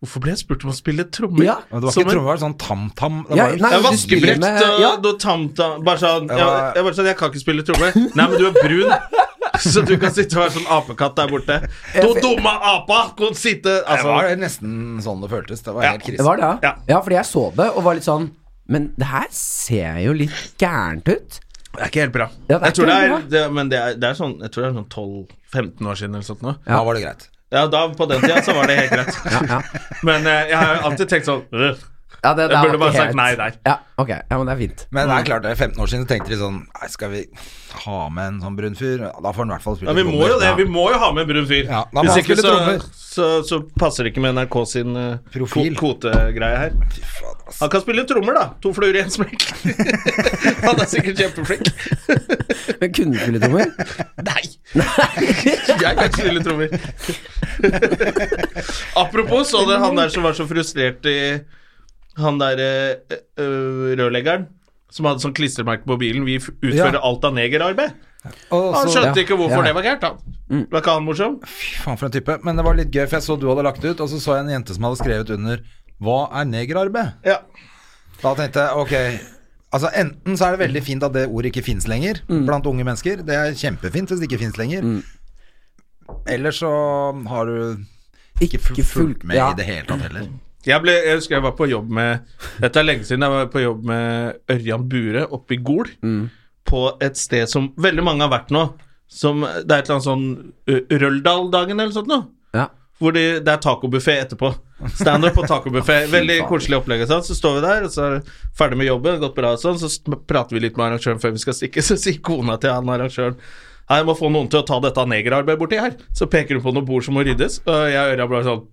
A: Hvorfor ble jeg spurt om å spille trommer?
C: Ja.
B: Men det var
A: Som
B: ikke
A: en-
B: trommer, det var sånn tam-tam. Det var
C: Ja,
B: jo-
C: nei,
A: Det er
C: du spiller
A: vaskebrett
C: med-
A: og
C: ja.
A: noe tam-tam. Bare sånn jeg,
B: var-
A: jeg bare sånn, jeg kan ikke spille tromme. Nei, men du er brun, så du kan sitte og være sånn apekatt der borte. Du dumme apa! Kan
B: det
A: sitte
B: var
A: Altså,
B: nesten sånn det føltes. Det var
A: Ja.
B: helt
C: Det
B: krise.
C: var det, ja.
A: Ja.
C: ja. fordi jeg så det og var litt sånn Men det her ser jo litt gærent ut.
A: Det er ikke helt bra.
C: Ja, det er
A: jeg tror
C: ikke
A: det er,
C: helt
A: det, men det er, det er sånn, jeg tror det er sånn 12-15 år siden eller sånt nå.
B: Da var det greit.
A: Ja, da, på den tida så var det helt greit. Men eh, jeg har jo alltid tenkt sånn øh,
C: Ja, det,
A: Jeg
C: der var
A: burde bare
C: ikke
A: sagt
C: helt-
A: nei der.
C: Ja, ok, ja, men det er fint.
B: Men det
A: Mm.
B: er klart, det er 15 år siden så tenkte de sånn Nei, skal vi ha med en sånn brun fyr? Ja, Da får han i hvert fall spille
A: Ja, vi må jo det. Vi må jo ha med en brun fyr.
B: Ja, da må
A: Hvis
B: han
A: ikke
B: spille
A: så,
B: trommer.
A: så, så passer det ikke med NRK sin eh,
B: Profil.
A: ko- kvotegreie her. Han kan spille trommer, da. To fluer i én smekk. Han er sikkert kjempeflink.
C: Men kunne du spille trommer?
A: Nei! Jeg kan ikke spille trommer. Apropos, så dere han der som var så frustrert i Han der eh, eh, rørleggeren som hadde sånn klistremerke på bilen 'Vi f- utfører
B: Ja.
A: alt av negerarbeid'.
B: Og
A: Han
B: så,
A: skjønte
C: ja,
A: ikke hvorfor
C: ja.
A: det var gærent, han. Var ikke han morsom?
B: fy faen for en type. Men det var litt gøy, for jeg så du hadde lagt ut, og så så jeg en jente som hadde skrevet under Hva er negerarbeid?
A: Ja.
B: Da tenkte jeg ok Altså Enten så er det veldig fint at det ordet ikke fins lenger
A: Mm.
B: blant unge mennesker. Det er kjempefint hvis det ikke fins lenger. Eller så har du ikke fulgt, fulgt med
C: ja.
B: i det hele tatt heller.
A: Jeg, ble, jeg husker jeg var på jobb med Dette er lenge siden jeg var på jobb med Ørjan Bure oppe i Gol. På et sted som veldig mange har vært nå. Som, det er et eller annet sånn uh, Røldal-dagen eller sånt noe.
C: Ja.
A: Hvor de, det er tacobuffé etterpå. Standup og
B: Ah,
A: tacobuffé. Veldig koselig opplegg. og sånn. Så står vi der, og så er det ferdig med jobben, gått bra og sånn. Så sm- prater vi litt med arrangøren før vi skal stikke, så sier kona til han arrangøren Nei, jeg må få noen til å ta dette negerarbeidet borti her. Så peker hun på noen bord som må ryddes, og jeg og Ørjan bare sånn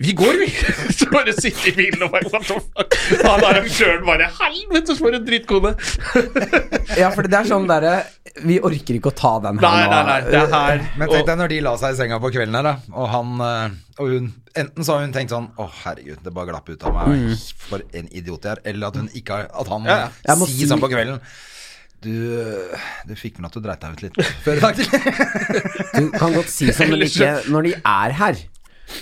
A: vi går, vi! Så bare sitte i bilen og bare what the fuck. Han arrangøren bare Helvete, for en drittkone!
C: ja, for det er sånn derre Vi orker ikke å ta den her
A: Nei,
C: nå.
A: nei, nei, det er her.
B: Men tenk deg når de la seg i senga på kvelden her, da. Og han eh, og hun Enten så har hun tenkt sånn Å, herregud, det bare glapp ut av meg. For en idiot jeg er. Eller at hun ikke har At han
A: Ja,
C: Mm. jeg må
B: sier
C: si-
B: sånn på kvelden. Du, du fikk med at du dreit deg ut litt før i dag.
C: Du kan godt si sånn, men
A: Ellers
C: ikke når de er her.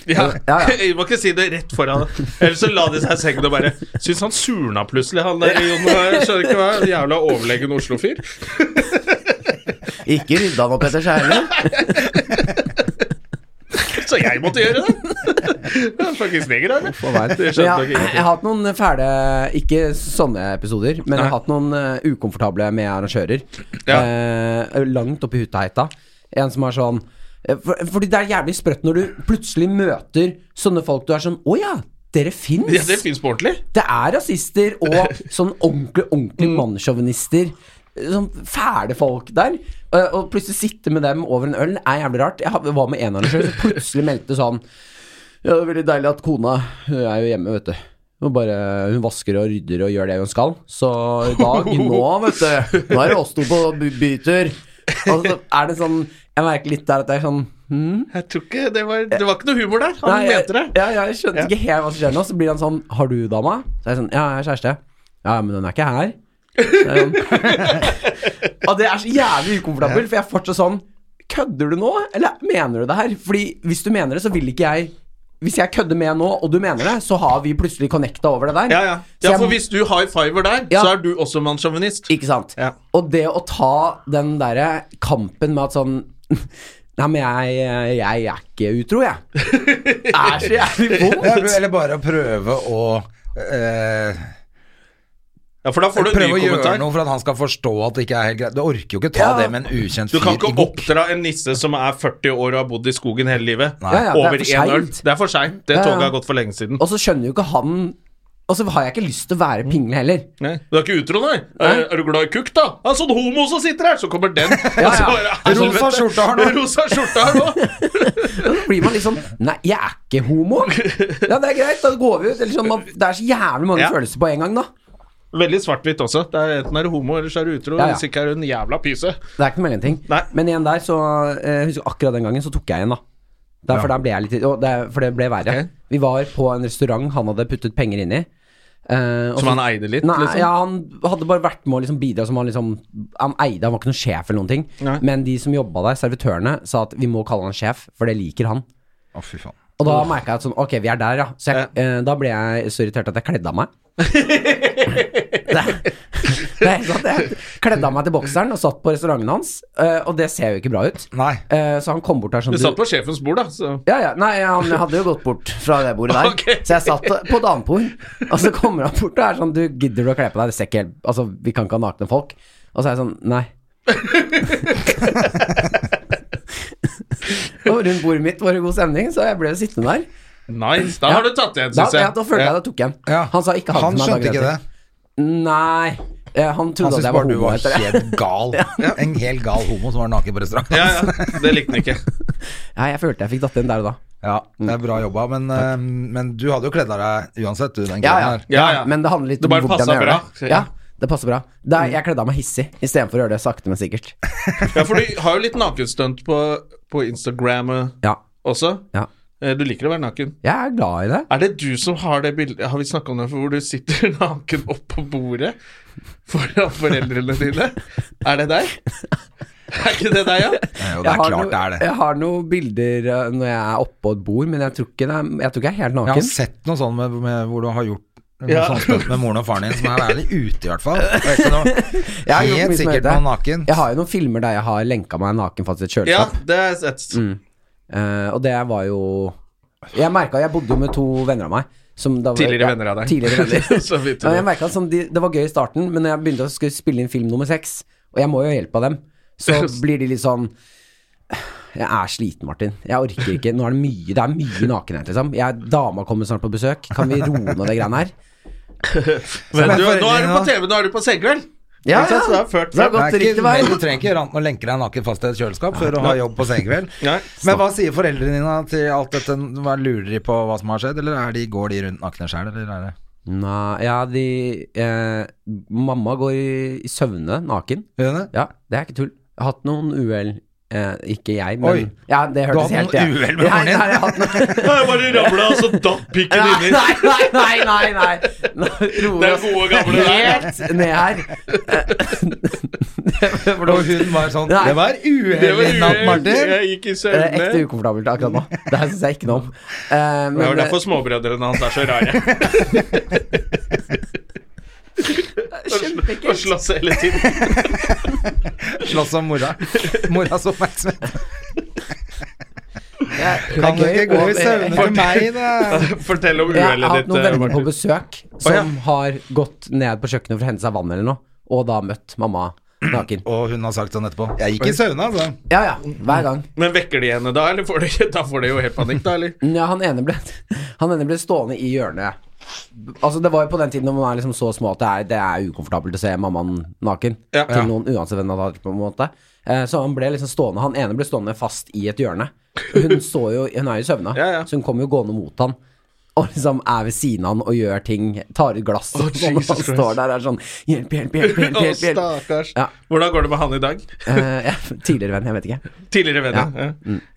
A: ja.
C: Ja, ja.
A: Jeg må ikke si det rett foran Ellers så la de seg i sengen og bare Syns han surna plutselig, han der Jon her. Skjønner ikke hva. Jævla overlegen Oslo-fyr.
D: Ikke rydda han opp etter seg heller.
A: Så jeg måtte gjøre det! Det er Fuckings neger, eller?
C: På veien.
A: Det
C: Men
A: skjønte
C: jeg,
A: nok
C: jeg
A: ingenting.
C: har hatt noen eh, fæle Ikke sånne episoder, men jeg har
A: Nei.
C: hatt noen eh, ukomfortable med arrangører.
A: Ja.
C: Eh, langt oppi huttaheita. En som er sånn eh, for, Fordi det er jævlig sprøtt når du plutselig møter sånne folk du er sånn Å ja, dere fins!
A: Ja, det fins på ordentlig.
C: Det er rasister og sånn ordentlig, ordentlig mannssjåvinister. Sånn fæle folk der. Eh, Og plutselig sitte med dem over en øl er jævlig rart. Jeg har- var med en av dem sjøl, så plutselig meldte sånn Ja, det er veldig deilig at kona hun er jo hjemme, vet du. Hun, bare, hun vasker og rydder og gjør det hun skal. Så i dag, nå, vet du Nå er det oss to på by- bytur. Og så er det sånn Jeg merker litt der at det er sånn hmm?
A: Jeg tror ikke det var Det var ikke noe humor der. Han
C: jeg,
A: mente det.
C: Ja, ja, jeg skjønte ikke helt hva som skjer nå. Så blir han sånn Har du dama? Så er jeg sånn Ja, jeg har kjæreste. Ja, men hun er ikke her. Så er jeg sånn, og det er så jævlig ukomfortabelt, for jeg er fortsatt sånn Kødder du nå, eller mener du det her? Fordi hvis du mener det, så vil ikke jeg Hvis jeg kødder med nå, og du mener det, så har vi plutselig connecta over det der.
A: Ja, ja.
C: Så
A: ja,
C: jeg-
A: for hvis du high fiver der,
C: Ja.
A: så er du også mannssjåvinist.
C: Ikke sant?
A: Ja.
C: Og det å ta den derre kampen med at sånn Nei, men jeg, jeg er ikke utro, jeg. Det er så jævlig
B: Ja,
C: vondt.
B: Eller bare å prøve å eh,
A: Ja, for da får du en ny
B: Prøve å gjøre
A: kommentar.
B: noe for at han skal forstå at det ikke er helt greit. Du orker jo ikke ta
C: Ja.
B: det med en ukjent
A: Du
B: fyr
A: kan ikke
B: i bok.
A: oppdra en nisse som er 40 år og har bodd i skogen hele livet,
C: Ja, ja, det er
A: over
C: for
A: én øl.
C: sent.
A: Det er for seint. Det
C: Ja, ja.
A: toget har gått for lenge siden.
C: Og så skjønner jo ikke han Og så har jeg ikke lyst til å
A: Mm.
C: være pingle heller.
A: Nei. Du er ikke utro, nei? Er, er du glad i kukk, da? Ja, sånn homo som sitter her! Så kommer den. Og så bare,
B: Rosa
A: helvete.
B: skjorta har nå.
A: Rosa skjorta har nå.
C: Da blir man liksom Nei, jeg er ikke homo. Ja, det er greit, da går vi ut. Eller sånn, man, det er så jævlig mange
A: Ja.
C: følelser på en gang, da.
A: Veldig svart-hvitt også. Det er, enten er du homo, eller så er du utro.
C: Ja, ja.
A: Hvis ikke er du en jævla pyse.
C: Det er ikke noe mellomting.
A: Nei.
C: Men igjen der, så eh, Husker jeg akkurat den gangen, så tok jeg igjen, da. Der, for, der ble jeg litt, og det, for det ble verre.
A: Ok.
C: Vi var på en restaurant han hadde puttet penger inn i. eh, og
A: Som
C: så-
A: han eide litt,
C: Nei,
A: liksom?
C: ja, han hadde bare vært med å liksom bidra som han liksom Han eide, han var ikke noen sjef eller noen ting.
A: Nei.
C: Men de som jobba der, servitørene, sa at vi må kalle han sjef, for det liker han.
B: Å, fy faen.
C: Og da merka jeg at sånn, ok, vi er der, ja. Så jeg, eh, da ble jeg så irritert at jeg kledde av meg. det, Det er helt sant, jeg kledde av meg til bokseren og satt på restauranten hans, eh, og det ser jo ikke bra ut.
B: Nei.
C: Eh, Så han kom bort der som
A: Du satt på sjefens bord, da. Så.
C: ja, ja. Nei, han hadde jo gått bort fra det bordet der.
A: Ok.
C: Så jeg satt på danbord, og så kommer han bort og er sånn Du gidder du å kle på deg? Det ser ikke helt Altså, vi kan ikke ha nakne folk. Og så er jeg sånn Nei. og rundt bordet mitt var det god stemning, så jeg ble jo sittende der.
A: Nice. Da har du tatt igjen,
C: Da,
A: syns jeg.
C: ja, da følte jeg da tok jeg den.
B: Ja.
C: Han sa ikke ha
B: Han
C: det til meg
B: skjønte
C: dagen
B: ikke det.
C: etter. Nei. eh, Han
B: Han
C: trodde at
B: syntes
C: jeg var
B: bare du
C: homo
B: var
C: etter det.
B: helt gal. En helt gal homo som var naken på restaurant.
A: Ja, ja. Det likte han ikke.
C: Nei, jeg følte jeg fikk datt inn der og da.
B: Ja,
C: Mm.
B: det er bra jobba, men, eh, men du hadde jo kledd av deg uansett, du, den
C: Ja,
B: kvelden
C: ja.
B: her.
A: Ja, ja.
C: Men det handler litt
A: Det bare passet
C: jeg gjør
A: bra.
C: det. Ja, det passer bra. Det er, jeg kledde av meg hissig istedenfor å gjøre det sakte, men sikkert.
A: Ja, for du har jo litt nakenstunt på, på Instagram eh,
C: Ja.
A: også.
C: Ja.
A: Eh, Du liker å være naken.
C: Jeg er glad i det.
A: Er det du som har det bildet Har vi snakka om det for hvor du sitter naken oppå bordet foran foreldrene dine? Er det deg? Er ikke det deg,
B: Ja,
A: ja?
B: jo, det
C: Jeg
B: er
C: har
B: klart
C: noe-
B: det er det.
C: Jeg har noen bilder eh, når jeg er oppå et bord, men jeg tror ikke, det er, jeg tror ikke jeg er helt
B: Jeg har
C: naken.
B: sett noe sånn med, med hvor du har gjort noe
A: Ja.
B: sånn stunt med moren og faren din, som er veldig ute, i hvert fall. Det er ikke noe-
C: Jeg har gjort mye
B: Helt
C: som
B: sikkert
C: heter-
B: noe naken.
C: Jeg har jo noen filmer der jeg har lenka meg naken fast i et
A: Ja,
C: kjøleskap,
A: det er sett.
C: Mm. Eh, og det var jo Jeg merka Jeg bodde jo med to venner av meg. som da var-
A: Tidligere
C: ja,
A: venner av deg.
C: Tidligere venner.
A: Så vidt du
C: Ja, jeg
A: vet.
C: merket at sånn, de, Det var gøy i starten, men når jeg begynte å skulle spille inn film nummer seks, og jeg må jo ha hjelp av dem, så blir de litt sånn Jeg er sliten, Martin. Jeg orker ikke. Nå er det mye Det er mye nakenhet, liksom. Jeg, dama kommer snart på besøk. Kan vi roe ned det greiene her?
A: Men du,
B: foreldrene
A: nå er du på
B: da?
A: TV, nå er du på senkveld.
C: Ja,
A: Ikke sant? Så det er ført
C: Det
A: frem.
C: har gått
B: Det er
C: riktig
B: ikke,
C: vei.
B: men du trenger ikke ran- å lenke deg naken fast i et kjøleskap for å ha jobb på senkveld.
A: Nei.
B: Men hva sier foreldrene dine til alt dette? Hva Lurer de på hva som har skjedd, eller er de, går de rundt nakne sjøl, eller er det
C: Nei, ja, de eh, Mamma går i, i søvne naken.
B: Gjør de det?
C: Ja, det er ikke tull. Jeg har hatt noen uhell. Eh, ikke jeg, men
B: Oi.
C: Ja, det
B: Du har
C: hørtes
B: hatt
C: helt
B: noen uhell med moren din?
C: Nei, nei, jeg har hatt noen
A: Jeg bare ramla, og så datt pikken
C: Nei,
A: inni.
C: nei, nei, nei, nei, nei. Nå roer
A: Det er
C: oss
A: gode gamle der.
C: Helt ned her. Det var
B: Og
C: noe-
B: hun var sånn
C: Nei.
B: Det var
A: Det var
B: uheldig natt,
A: uhell.
B: Martin.
A: Jeg gikk i
C: det er Eh,
A: søvne.
C: ekte ukomfortabelt akkurat nå. Det her syns jeg ikke noe om. Eh,
A: Det
C: men,
A: er derfor småbrødrene hans er så rare. Og
C: Kjempeekkelt.
A: slåss hele tiden.
B: Slåss om mora. Moras oppmerksomhet.
C: Det er
B: Kan du
C: gøy
B: ikke gå i
C: og-
B: søvne til meg, da?
A: Fortell om
C: Jeg har
A: uhellet
C: hatt
A: ditt, eh,
C: noen venner på
A: Martin.
C: besøk som har gått ned på kjøkkenet for å hente seg vann eller noe, og da møtt mamma naken.
B: Og hun har sagt sånn etterpå. Jeg gikk i søvne, altså.
C: Ja ja, hver gang.
A: Men vekker de henne da, eller får de, da får de jo helt panikk, da, eller?
C: Ja, han ene ble, han ene ble stående i hjørnet. Altså Det var jo på den tiden når man er liksom så små at det er, det er ukomfortabelt å se mammaen naken.
A: Ja.
C: Til noen uansett hvem han har på en måte. Eh, Så han ble liksom stående Han ene ble stående fast i et hjørne. Hun så jo Hun er jo søvna,
A: Ja, ja.
C: så hun kommer jo gående mot han. Og liksom er ved siden av han og gjør ting. Tar ut glass og sånn. Og
A: Jesus
C: han
A: Christ.
C: står der og er sånn Hjelp, hjelp, hjelp, hjelp,
A: Å,
C: hjelp, hjelp.
A: stakkars.
C: Ja.
A: Hvordan går det med han i dag?
C: Eh, ja, tidligere venn, jeg vet ikke.
A: Tidligere venn, ja.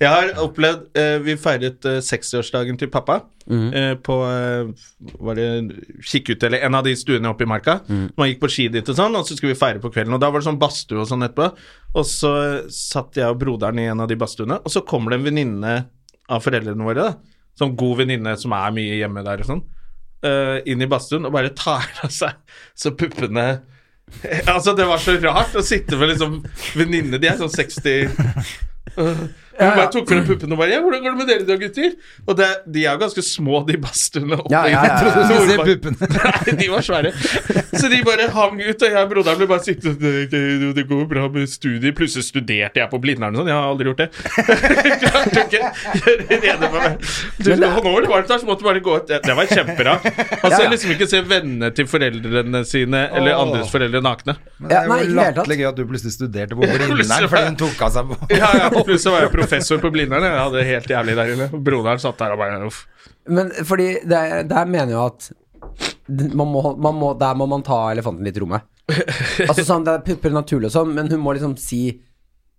A: Jeg har opplevd eh, Vi feiret eh, 60-årsdagen til pappa eh, på eh, Var det Kikkut eller en av de stuene oppe i marka. Man gikk på ski dit og sånn, og så skulle vi feire på kvelden. Og da var det sånn badstue og sånn etterpå. Og så eh, satt jeg og broderen i en av de badstuene, og så kommer det en venninne av foreldrene våre, da. Sånn god venninne som er mye hjemme der og sånn. eh, inn i badstuen og bare tar av seg så puppene Altså, det var så rart å sitte med liksom venninne De er sånn 60 hun bare tok frem puppene og bare ja, 'Hvordan går det med dere da, gutter?' Og det, de er jo ganske små, de badstuene. oppe
C: Ja,
A: i-
C: ja, ja, ja, ja.
B: Jeg trodde du skulle
A: Nordmark.
B: se puppene.
A: Nei, de var svære. Så de bare hang ut, og jeg og broderen ble bare sittende det, det, 'Det går bra med studier.' Plutselig studerte jeg på Blindern og sånn. Jeg har aldri gjort det. Klarte ikke gjøre rede for meg. Du, og nå var det varmt der, så måtte du bare gå ut. Det, det var kjempebra. Altså,
C: Ja, ja.
A: liksom ikke se vennene til foreldrene sine eller
B: Åh.
A: andres foreldre nakne.
B: Men det
C: Ja, nei,
B: er jo
C: ikke i det hele tatt.
B: latterlig gøy at du plutselig studerte på Blindern fordi hun tok av seg på
A: Ja, ja, plutselig var jeg professor på Blindern. Jeg hadde det helt jævlig der inne. Broderen satt der og bare uff.
C: Men fordi der, der mener jeg at man må, man må, Der må man ta elefanten litt i rommet. Altså sånn, Det er pupper naturlig og sånn, men hun må liksom si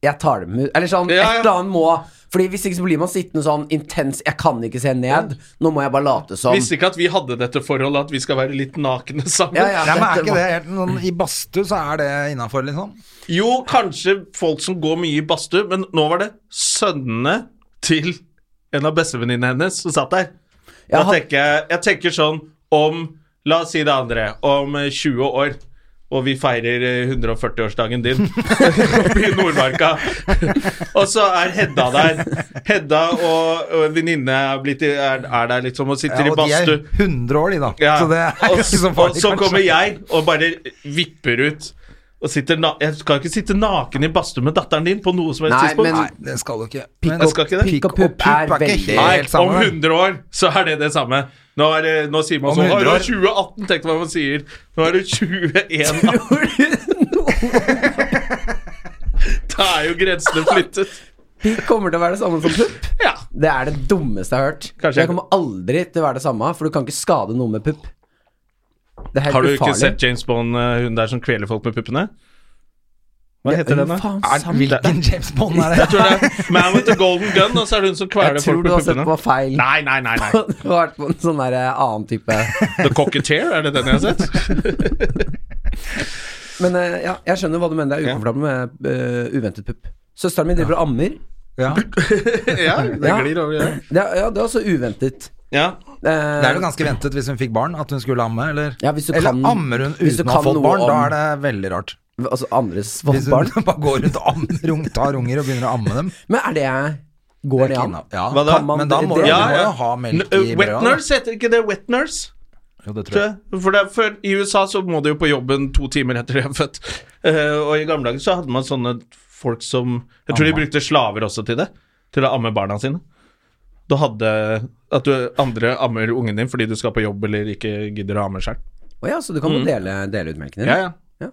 C: 'jeg tar dem ut'. Eller sånn,
A: Ja, ja.
C: et eller annet må Fordi Hvis ikke så blir man sittende sånn intens 'jeg kan ikke se ned', nå må jeg bare late som.
A: Visste ikke at vi hadde dette forholdet, at vi skal være litt nakne sammen.
C: Ja, ja,
B: Nei, men er
C: dette
B: ikke
C: må-
B: det helt sånn, I badstue så er det innafor, liksom.
A: Jo, kanskje folk som går mye i badstue, men nå var det sønnene til en av bestevenninnene hennes som satt der. Da
C: Ja, han-
A: tenker jeg, jeg tenker sånn om La oss si det andre. Om eh, 20 år. og vi feirer eh, 140-årsdagen din oppe i Nordmarka. og så er Hedda der. Hedda og, og en venninne er, blitt i- er, er der, liksom, og sitter
B: Ja,
A: i
B: og de er
A: badstue.
B: 100 år, de, da.
A: Ja.
B: Så det er
A: og,
B: jo ikke så
A: og
B: farlig,
A: så
B: kanskje.
A: kommer jeg og bare vipper ut. Og sitter na jeg skal ikke sitte naken i badstue med datteren din på noe som helst
D: Nei,
A: tidspunkt.
D: men-
B: Nei, det skal du ikke. Men-
A: Jeg skal ikke det.
B: Pikk og pupp
D: er
B: er ikke
D: veldig-
B: helt
A: Nei,
B: helt samme.
A: om 100 år så er det det samme. Nå, er det, nå sier man
B: Om
A: sånn Nå
B: 100
A: er
B: år-
A: det 2018, tenk hva man sier. Nå er det 2018. Da er jo grensene flyttet.
C: Pikk kommer til å være det samme som pupp.
A: Ja.
C: Det er det dummeste jeg har hørt.
A: Kanskje-
C: Jeg kommer aldri til å være det samme, for du kan ikke skade noen med pupp. Det er helt
A: Har du ikke
C: ufarlig.
A: sett James Bond, eh, hun der som kveler folk med puppene? Hva heter den, da?
C: Faen,
B: Er,
C: sant.
B: hvilken James Bond er
A: Jeg
B: det?
A: tror det er Man with the Golden Gun, og så er det hun som kveler
C: Jeg
A: folk
C: tror du
A: med
C: har sett
A: puppene.
C: på feil.
A: Nei, nei, nei. nei.
C: Du har vært på en sånn der eh, annen type
A: The Cocketeer, er det den jeg har sett?
C: Men eh, ja, jeg skjønner hva du mener. Det er
A: Ja.
C: ukomfortabelt med eh, uventet pupp. Søsteren min driver og ammer.
B: Ja. Det
A: ja, det
C: Ja.
A: glir over. Ja.
C: Det er, ja, det er også uventet.
A: Ja.
C: Eh,
B: er jo ganske ventet hvis hun fikk barn, at hun skulle amme, eller?
C: Ja, hvis du
B: eller
C: kan-
B: ammer hun
C: hvis du
B: uten å ha
C: kan
B: fått
C: noe
B: barn? Da
C: om-
B: er det veldig rart.
C: Altså andres
B: Hvis
C: barn.
B: hun bare går rundt og ammer, ung- tar unger og begynner å amme dem.
C: Men er det Går det an?
B: Ja,
A: Hva da?
B: kan man- men da må
C: det-
B: du
C: Ja,
B: du må jo ha melk i
A: N- Wet
B: brødet.
A: Nurse, heter ikke det Wet Nurse?
B: da. Jo, det tror
A: tror
B: jeg.
A: jeg. For, det, for I USA så må du jo på jobben to timer etter de er født. Eh, og i gamle dager så hadde man sånne folk som Jeg tror de brukte slaver også til det. Til å amme barna sine. Du hadde At du andre ammer ungen din fordi du skal på jobb eller ikke gidder å amme sjøl.
C: Å ja, så du kan jo dele, dele ut melken din?
A: Ja, ja.
C: Ja.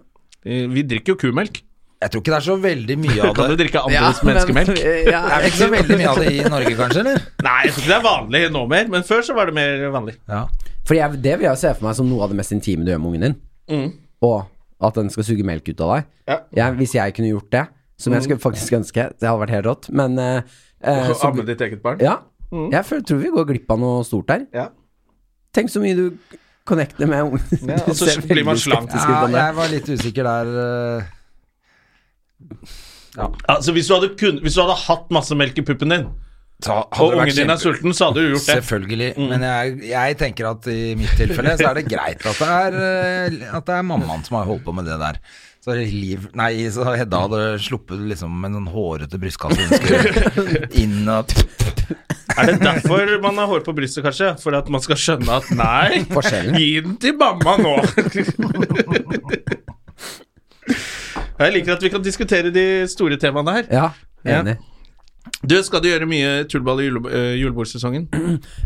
A: Eh, Vi drikker jo kumelk.
B: Jeg tror ikke det er så veldig mye av
A: Kan du
B: det.
A: drikke andres menneskemelk?
C: eh,
D: Ja,
B: Er det ikke så veldig mye av det i Norge, kanskje? eller?
A: Nei, jeg tror ikke det er vanlig nå mer, men før så var det mer vanlig.
B: Ja.
C: For jeg, det vil jeg se for meg som noe av det mest intime du gjør med ungen din. Og at den skal suge melk ut av deg.
A: Ja.
C: Jeg, hvis jeg kunne gjort det, som jeg skulle faktisk ønske, det hadde vært helt rått, men eh, eh,
A: Å
C: så,
A: amme ditt eget barn.
C: Ja. Jeg føler, tror vi går glipp av noe stort der.
A: Mm. Ja.
C: Tenk så mye du connecter med ungen.
A: Ja,
C: Du
A: og så
C: ser
A: blir man
C: veldig
A: slank.
C: skeptisk ut om det.
B: jeg var litt usikker der. eh.
A: Altså, hvis du, hadde kun, hvis du hadde hatt masse melk i puppen din,
B: Så hadde
A: og
B: det vært
A: ungen din er
B: kjempe-
A: sulten, så hadde du gjort det.
B: Selvfølgelig. Men jeg, jeg tenker at i mitt tilfelle så er det greit at det er, eh, at det er mammaen som har holdt på med det der. Så Liv Nei, så Hedda hadde sluppet liksom en sånn hårete brystkasse hun skulle inn og
A: Er det derfor man har hår på brystet, kanskje? For at man skal skjønne at nei,
C: Forskjellen.
A: gi den til mamma nå. Jeg liker at vi kan diskutere de store temaene her.
C: Ja, enig.
A: Du, skal du gjøre mye tullball i jule, eh, julebordsesongen?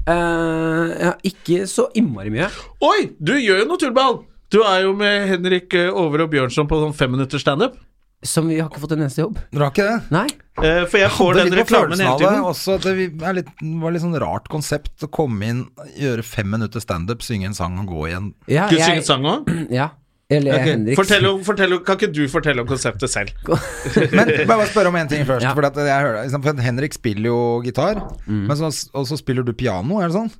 C: Eh, ja, ikke så innmari mye.
A: Oi, du gjør jo noe tullball! Du er jo med Henrik eh, Over og Bjørnson på sånn femminutters standup.
C: Som vi har ikke fått en eneste jobb.
B: Dere har ikke det?
C: Nei.
A: Eh, For jeg får
B: Det
A: den
B: ligger på
A: reklamen
B: følelsen
A: hele
B: av det
A: tiden.
B: også. at Det vi- er litt, var litt sånn rart konsept å komme inn, gjøre fem minutter standup, synge en sang og gå igjen.
C: Ja,
A: Skal du synge sang òg?
C: Ja. Eller Henrik.
A: Fortell, om- fortell, om- kan ikke du fortelle om konseptet selv?
B: Men bare bare spørre om en ting først.
C: Ja.
B: For, at jeg hører, liksom, for Henrik spiller jo gitar,
A: Mm.
B: men så, og så spiller du piano, er det sånn?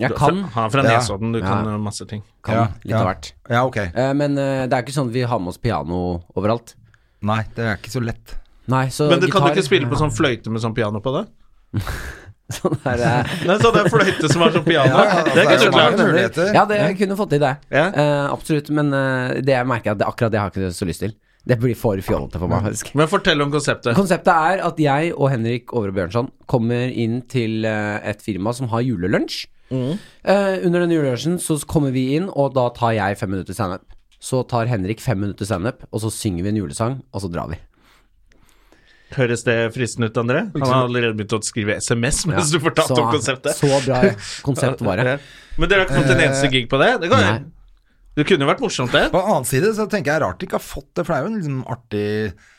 C: Jeg kan.
A: Han er fra
B: Ja.
A: Nesodden, du kan
C: Ja.
A: eh, masse ting.
C: kan
B: Ja,
C: litt
B: ja.
C: av hvert.
B: Ja, ok.
C: Eh, men eh, det er ikke sånn at vi har med oss piano overalt.
B: Nei, det er ikke så lett.
C: Nei, så
A: Men du kan
C: gitar-
A: du ikke spille på sånn fløyte med sånn piano på det?
C: sånn der, eh,
A: Nei, så det er fløyte som er sånn piano.
B: Ja,
A: det
B: altså,
A: er ikke så
B: det er
A: klart.
B: mange muligheter.
C: Ja, det jeg kunne fått til det.
A: Ja.
C: Eh, absolutt. Men eh, det jeg merker at det, akkurat det har jeg ikke så lyst til. Det blir for fjollete for meg. faktisk
A: Men fortell om konseptet.
C: Konseptet er at jeg og Henrik Over og Bjørnson kommer inn til eh, et firma som har julelunsj.
A: Mm.
C: Eh, under denne julelunsjen så kommer vi inn, og da tar jeg fem minutter standup. Så tar Henrik fem minutter standup, og så synger vi en julesang, og så drar vi.
A: Høres det fristende ut, André? Han har allerede begynt å skrive SMS mens du fortalte
C: så,
A: om konseptet.
C: Så bra konsept var det. Eh,
A: Men dere har ikke fått en eneste gig på det? Det, kan,
C: Nei.
A: det kunne jo vært morsomt, det.
B: På den annen side så tenker jeg rart de ikke har fått det, for det er jo en liksom artig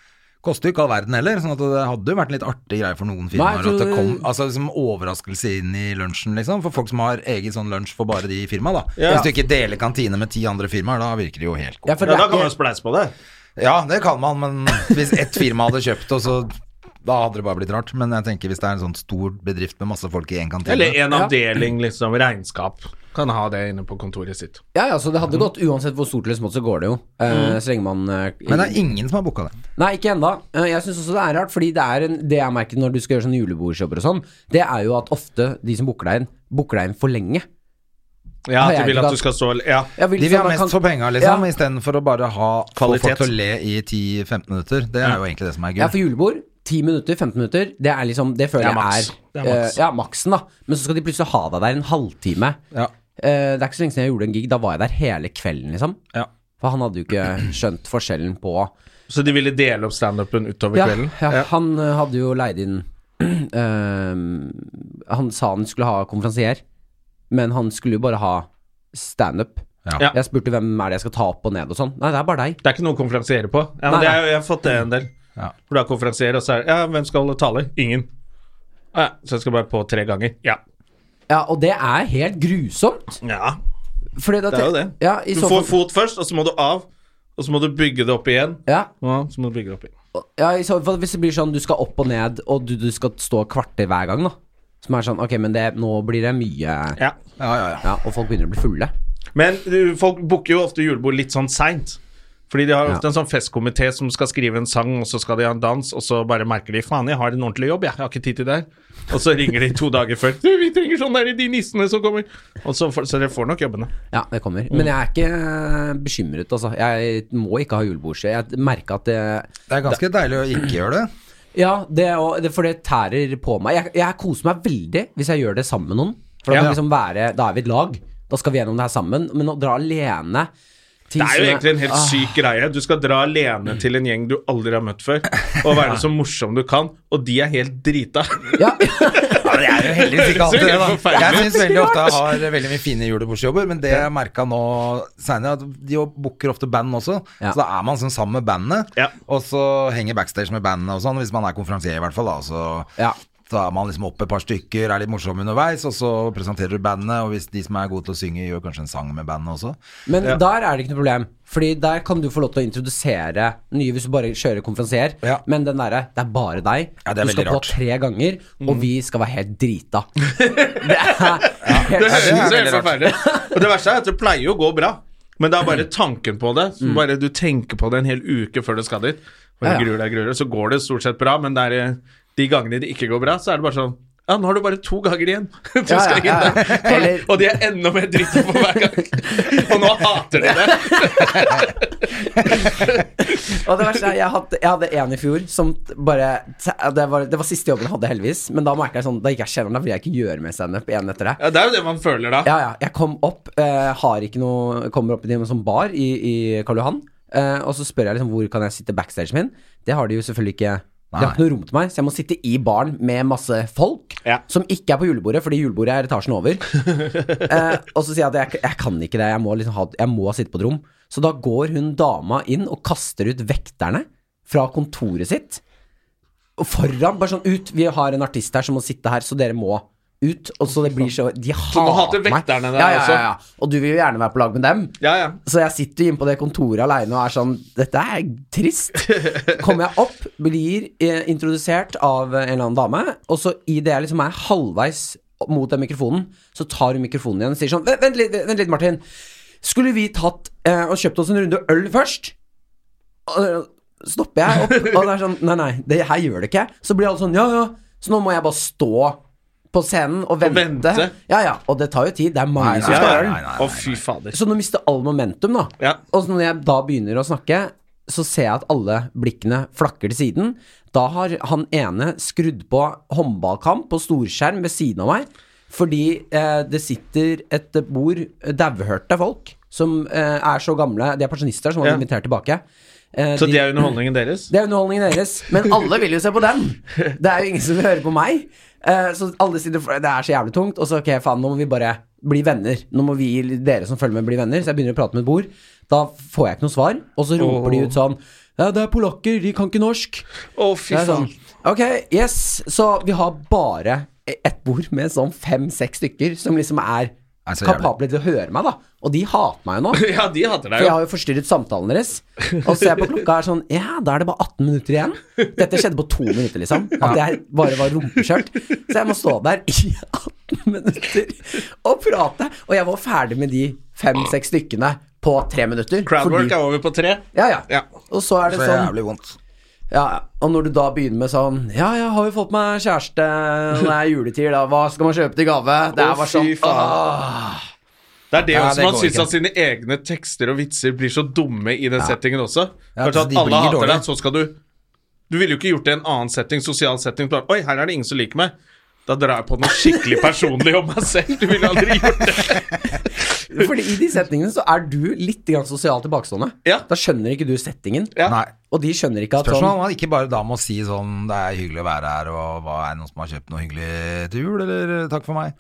B: Koster jo ikke all verden heller, sånn at det hadde jo vært en litt artig greie for noen firmaer
C: Nei, jeg
B: at det
C: tror-
B: kom altså, liksom overraskelse inn i lunsjen, liksom. For folk som har eget sånn lunsj for bare de i firmaet, da.
A: Ja.
B: Hvis du ikke deler kantine med ti andre firmaer, da virker det jo helt
C: Ja,
B: godt.
A: Ja, da
C: for det er
A: kan man
C: ikke,
A: jo spleise på det.
B: Ja, det kan man, men hvis ett firma hadde kjøpt det, og så Da hadde det bare blitt rart. Men jeg tenker hvis det er en sånn stor bedrift med masse folk i én kantine
A: Eller en avdeling, liksom. Regnskap. Kan ha det inne på kontoret sitt.
C: ja, ja, så det hadde
A: Mm.
C: gått uansett hvor stort eller smått, så går det jo. Eh, Så lenge man eh,
B: Men det er ingen som har booka det.
C: Nei, ikke ennå. Jeg syns også det er rart, fordi det er en, det jeg merker når du skal gjøre sånne julebordsjobber og sånn, det er jo at ofte de som booker deg inn, booker deg inn for lenge.
A: Ja,
C: Har
A: at
C: jeg
A: de vil
C: ikke
A: at
C: da-
A: du skal stå Ja.
C: Jeg
B: De vil ha mest for penga, liksom,
C: Ja.
B: istedenfor å bare ha få
A: Kvalitet.
B: folk til å le i 10-15 minutter. Det er jo egentlig det som er
C: Ja,
B: gull.
C: for julebord 10 minutter, 15 minutter, det er liksom Det føler
A: Det er maks.
C: jeg er,
A: Det er maks.
C: eh, Ja, maksen, da. Men så skal de plutselig ha deg der en halvtime.
B: Ja.
C: Eh, det er ikke så lenge siden jeg gjorde en gig. Da var jeg der hele kvelden, liksom.
B: Ja.
C: For han hadde jo ikke skjønt forskjellen på
A: Så de ville dele opp standupen utover
C: ja,
A: kvelden?
C: ja, han eh, hadde jo leid inn eh, Han sa han skulle ha konferansier, men han skulle jo bare ha standup.
B: Ja.
A: Ja.
C: Jeg spurte hvem er det jeg skal ta opp og ned og sånn. Nei, det er bare deg.
A: Det er ikke noe å konferansiere på. Ja, men
C: Nei,
A: det er,
C: nei.
A: jo- jeg har fått det en del.
B: Ja.
A: For du har konferansier, og så er det Ja, hvem skal holde taler? Ingen. Ja, så jeg skal bare på tre ganger. Ja.
C: Ja, og det er helt grusomt.
A: ja
C: Fordi da
A: det er jo
C: te-
A: det.
C: Ja, i
A: Du
C: så
A: får
C: fall-
A: fot først, og så må du av. Og så må du bygge det opp igjen.
C: ja,
A: Ja, så må du bygge det opp igjen.
C: Ja, i så fall hvis det blir sånn du skal opp og ned, og du, du skal stå kvarter hver gang, da. Som er sånn, ok, men det, nå blir det mye ja.
A: Ja.
B: Ja, ja, ja.
C: og folk begynner å bli fulle.
A: Men du, folk booker jo ofte julebord litt sånn seint. Fordi de har
C: Ja.
A: ofte en sånn festkomité som skal skrive en sang, og så skal de ha en dans, og så bare merker de faen, jeg har en ordentlig jobb, jeg, jeg har ikke tid til det her. Og så ringer de to dager før. Du, vi trenger sånn der, de nissene som kommer. Og så, får- så dere får nok jobbene.
C: Ja, det kommer.
A: Mm.
C: Men jeg er ikke bekymret, altså. Jeg må ikke ha julebord. så Jeg merker at det
B: Det er ganske deilig å ikke gjøre det.
C: Ja, det, og, det, for det tærer på meg. Jeg, jeg koser meg veldig hvis jeg gjør det sammen med noen. For da,
A: Ja.
C: kan vi liksom være, da er vi et lag. Da skal vi gjennom det her sammen. Men å dra alene til
A: Det er jo
C: sånne-
A: egentlig en helt
B: Ah.
A: syk greie. Du skal dra alene til en gjeng du aldri har møtt før, og være så morsom du kan, og de er helt drita.
C: ja.
B: Jeg er jo heldigvis ikke alltid
A: Så
B: det, da.
A: forferdelig.
B: Jeg syns veldig ofte jeg har veldig mye fine julebordsjobber, men det jeg merka nå seinere, at de jo booker ofte band også,
C: Ja.
B: så da er man sånn sammen med bandet,
A: Ja.
B: og så henger backstage med bandet og sånn, hvis man er konferansier i hvert fall, da, og så
C: Ja.
B: tar man liksom opp et par stykker, er litt morsom underveis, og så presenterer du bandet, og hvis de som er gode til å synge, gjør kanskje en sang med bandet også.
C: Men der er det ikke noe problem, Fordi der kan du få lov til å introdusere nye hvis du bare kjører konferansier.
B: Ja.
C: Men den derre 'det er bare deg',
B: Ja, det er
C: du skal
B: veldig
C: på
B: rart.
C: tre ganger,
A: Mm.
C: og vi skal være helt drita. det er helt
A: Det høres
C: sykt.
A: jo
B: veldig
A: helt forferdelig Og det verste er at det pleier jo å gå bra, men det er bare tanken på det. som Bare Du tenker på det en hel uke før du skal dit, og
C: Mm.
A: du
C: Ja, ja.
A: gruer deg, gruer deg, så går det stort sett bra, men det er eh, de gangene det ikke går bra, så er det bare sånn ja, nå har du bare to ganger igjen. Du
C: Ja,
A: skal
C: ja, ja,
A: inn der.
C: ja. Eller-
A: Og de er enda mer drita på hver gang. Og nå hater de det.
C: Og det verste er, jeg hadde, jeg hadde en i fjor som t- bare t- det var, det var siste jobben jeg hadde, heldigvis. Men da merka jeg sånn Da gikk jeg kjelleren, da ville jeg ikke gjøre mer standup igjen etter det.
A: Ja, det er jo det man føler da.
C: Ja, ja. Jeg kom opp, eh, har ikke noe Kommer opp i en sånn bar i, i Karl Johan. Eh, og så spør jeg liksom hvor kan jeg sitte backstage min. Det har de jo selvfølgelig ikke. De har
B: Nei.
C: ikke noe rom til meg, så jeg må sitte i baren med masse folk
A: Ja.
C: som ikke er på julebordet, fordi julebordet er etasjen over. eh, og så sier jeg at jeg, jeg kan ikke det, jeg må, liksom ha, jeg må sitte på et rom. Så da går hun dama inn og kaster ut vekterne fra kontoret sitt. Og foran, bare sånn ut. Vi har en artist her som må sitte her, så dere må ut. Og så det blir så De hater
A: nå
C: meg.
A: hater vekterne deg
C: ja, ja,
A: også.
C: ja, ja. Og du vil jo gjerne være på lag med dem.
A: Ja, ja.
C: Så jeg sitter jo inne på det kontoret aleine og er sånn Dette er trist. Kommer jeg opp, blir eh, introdusert av eh, en eller annen dame, og så idet jeg liksom er halvveis opp mot den mikrofonen, så tar hun mikrofonen igjen og sier sånn Vent, vent, litt, vent litt, Martin. Skulle vi tatt eh, og kjøpt oss en runde øl først? Og eh, stopper jeg opp, og det er sånn Nei, nei, det her gjør det ikke. Så blir alle sånn Ja, ja. Så nå må jeg bare stå på scenen og vente.
A: vente.
C: Ja, ja. Og det tar jo tid. Det er mange som
A: Ja,
C: skal ha
A: ja,
C: øl.
A: ja. Å, fy fader.
C: Så nå mister all momentum, da.
A: Ja.
C: Og så når jeg da begynner å snakke, så ser jeg at alle blikkene flakker til siden. Da har han ene skrudd på håndballkamp på storskjerm ved siden av meg, fordi eh, det sitter et bord eh, dauhørte folk som eh, er så gamle, de er pensjonister som han
A: Ja.
C: har invitert tilbake. Eh,
A: Så det er underholdningen deres?
C: det er underholdningen deres, men alle vil jo se på den. Det er jo ingen som vil høre på meg. Eh, så alle sitter for, Det er så jævlig tungt. Og så ok, faen, nå må vi bare bli venner. Nå må vi, dere som følger med, bli venner. Så jeg begynner å prate med et bord. Da får jeg ikke noe svar, og så roper de ut sånn Ja, det er polakker, de kan ikke norsk.
A: Å, fy
C: Det er
A: faen.
C: sånn, ok, yes Så vi har bare ett bord med sånn fem-seks stykker som liksom er
B: Er
A: Altså,
B: så jævlig.
C: kapable til å høre meg, da. Og de hater meg jo nå.
A: Ja, de hater deg
C: For jeg
A: jo.
C: har jo forstyrret samtalen deres. Og så ser jeg på klokka er sånn Ja, da er det bare 18 minutter igjen. Dette skjedde på to minutter, liksom. At jeg bare var rumpeskjørt. Så jeg må stå der i 18 minutter og prate. Og jeg var ferdig med de fem-seks stykkene på tre minutter.
A: Crowdwork er over på tre.
C: ja, ja.
A: Ja.
C: Og så er det
B: Så
C: sånn
B: jævlig vondt.
C: ja, ja. Og når du da begynner med sånn Ja, jeg har jo fått meg kjæreste, og det er juletid, da. Hva skal man kjøpe til gave? Det
A: Å,
C: er bare sånn
A: fy faen.
C: åh.
A: Det er det
B: Ja,
A: også
B: det
A: man
B: går
A: syns
B: ikke.
A: at sine egne tekster og vitser blir så dumme i den settingen også. Kanskje
B: altså, de
A: at alle
B: blir
A: hater
B: dårlige.
A: deg, så skal du Du ville jo ikke gjort det i en annen setting, sosial setting. bare, Oi, her er det ingen som liker meg. Da drar jeg på noe skikkelig personlig om meg selv. Du ville aldri gjort det.
C: Fordi i de setningene så er du litt grann sosialt tilbakestående.
A: Ja.
C: Da skjønner ikke du settingen.
A: Ja.
B: Nei.
C: Og de skjønner ikke at
B: Spørsmålet er
C: sånn
B: om han ikke bare da må si sånn Det er hyggelig å være her, og hva er det noen som har kjøpt noe hyggelig til jul, eller eh, takk for meg?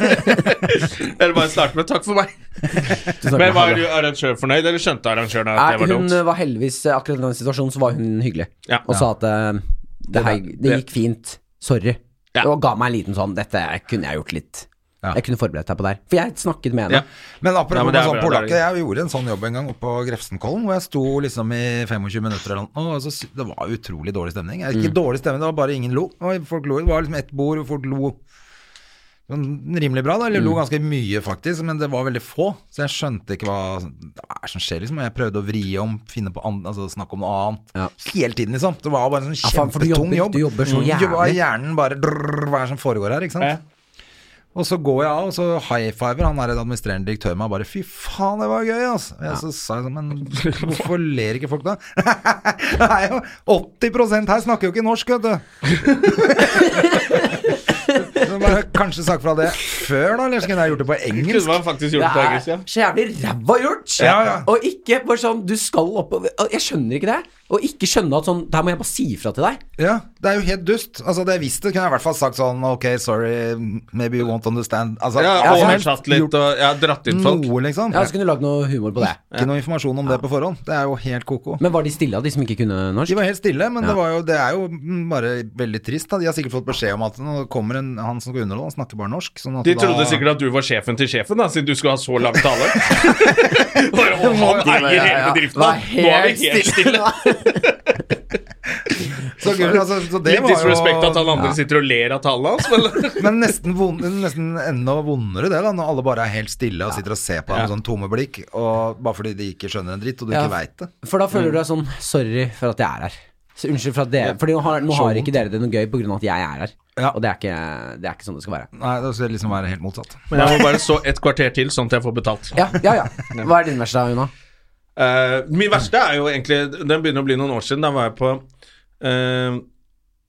A: Eller bare starte med 'takk for meg'. Men var du arrangør fornøyd, eller skjønte arrangøren at
C: sånn- Nei,
A: det var
C: hun
A: dumt?
B: øh,
C: var heldigvis eh, Akkurat i den situasjonen så var hun hyggelig
A: Ja.
C: Og sa at eh, det, her, det
A: det-
C: gikk fint Sorry
A: Ja.
C: Og ga meg en liten sånn Dette kunne jeg gjort litt
B: Ja.
C: Jeg kunne forberedt deg på det her For jeg snakket med
A: Ja.
C: henne
B: Men apropos
A: Ja, men det
B: med
A: er
B: sånn
A: bra, det
B: polakker,
A: er
B: jeg gjorde en sånn jobb en gang oppe på Grefsenkollen, hvor jeg sto liksom i 25 minutter eller noe, og så sy- det var utrolig dårlig stemning. Ikke
C: Mm.
B: dårlig stemning, det var bare ingen lo. Og folk lo. Det var liksom ett bord hvor folk lo sånn rimelig bra, da, eller
C: Mm.
B: lo ganske mye faktisk, men det var veldig få, så jeg skjønte ikke hva det er som skjer, liksom. Og Jeg prøvde å vri om, finne på an- altså snakke om noe annet,
C: Ja.
B: hele tiden, liksom. Det var bare en sånn
C: Ja, faen, for du
B: kjempetung
C: jobber-
B: jobb.
C: du jobber så
B: Mm.
C: jævlig.
B: Jobba- Hjernen bare drrrr, Hva er det som foregår her, ikke sant?
A: Ja.
B: Og så går jeg av, og så high-fiver han er en administrerende direktør meg og bare 'fy faen, det var gøy', altså. Og jeg så sa jeg sånn, men hvorfor ler ikke folk da? det er jo 80 her snakker jo ikke norsk, vet du. så bare kanskje sagt fra det før, da, eller så kunne jeg gjort det på
A: Kunne
B: engelsk.
A: man faktisk gjort det på
C: Det
A: engelsk, ja.
C: er så jævlig ræva gjort
B: Ja, ja.
C: Og ikke bare sånn Du skal opp og- og Jeg skjønner ikke det Og ikke skjønne at sånn Der må jeg bare si ifra til deg
B: Ja, det er jo helt dust. Altså, det jeg visste, kunne jeg i hvert fall sagt sånn 'ok, sorry, maybe you won't understand'. Altså,
A: Ja,
B: hva som helst.
A: oversatt litt, og jeg har dratt inn folk.
B: Noe, liksom.
C: Ja, så kunne du lage noe humor på det
B: Ikke noe informasjon om det på forhånd. Det er jo helt ko-ko.
C: Men var de stille av De som ikke kunne norsk?
B: De var helt stille, men
C: Ja.
B: det, var jo, det er jo bare veldig trist. Da. De har sikkert fått beskjed om at nå kommer en, han som skal underholde, han snakker bare norsk. Sånn at
A: De
B: da-
A: trodde sikkert at du var sjefen til sjefen, da, siden du skulle ha så lang tale. Bare, «Å, han
D: Ja,
A: eier
D: ja,
A: hele
D: ja.
A: bedriften,
D: Vær
A: han. nå er vi helt stille.
B: så, gøy, altså, så det
A: Litt
B: var
A: disrespekt at
B: jo
A: han andre sitter og ler av tallene hans, men
B: Men nesten, vond, nesten enda vondere det, da, når alle bare er helt stille og sitter og ser på deg med sånn tomme blikk, og bare fordi de ikke skjønner en dritt, og du
C: Ja.
B: ikke veit det.
C: For da
A: Mm.
C: føler du deg sånn Sorry for at jeg er her. Så unnskyld for at dere Fordi nå har, nå har ikke dere det noe gøy pga. at jeg er her.
B: Ja.
C: Og det er, ikke, det er ikke sånn det skal være.
B: Nei, det skal liksom være helt motsatt.
A: Men jeg må bare stå et kvarter til, sånn at jeg får betalt.
C: Ja, ja, ja. Hva er din verste, Una?
A: Eh, min verste er jo egentlig Den begynner å bli noen år siden. Da var jeg på eh,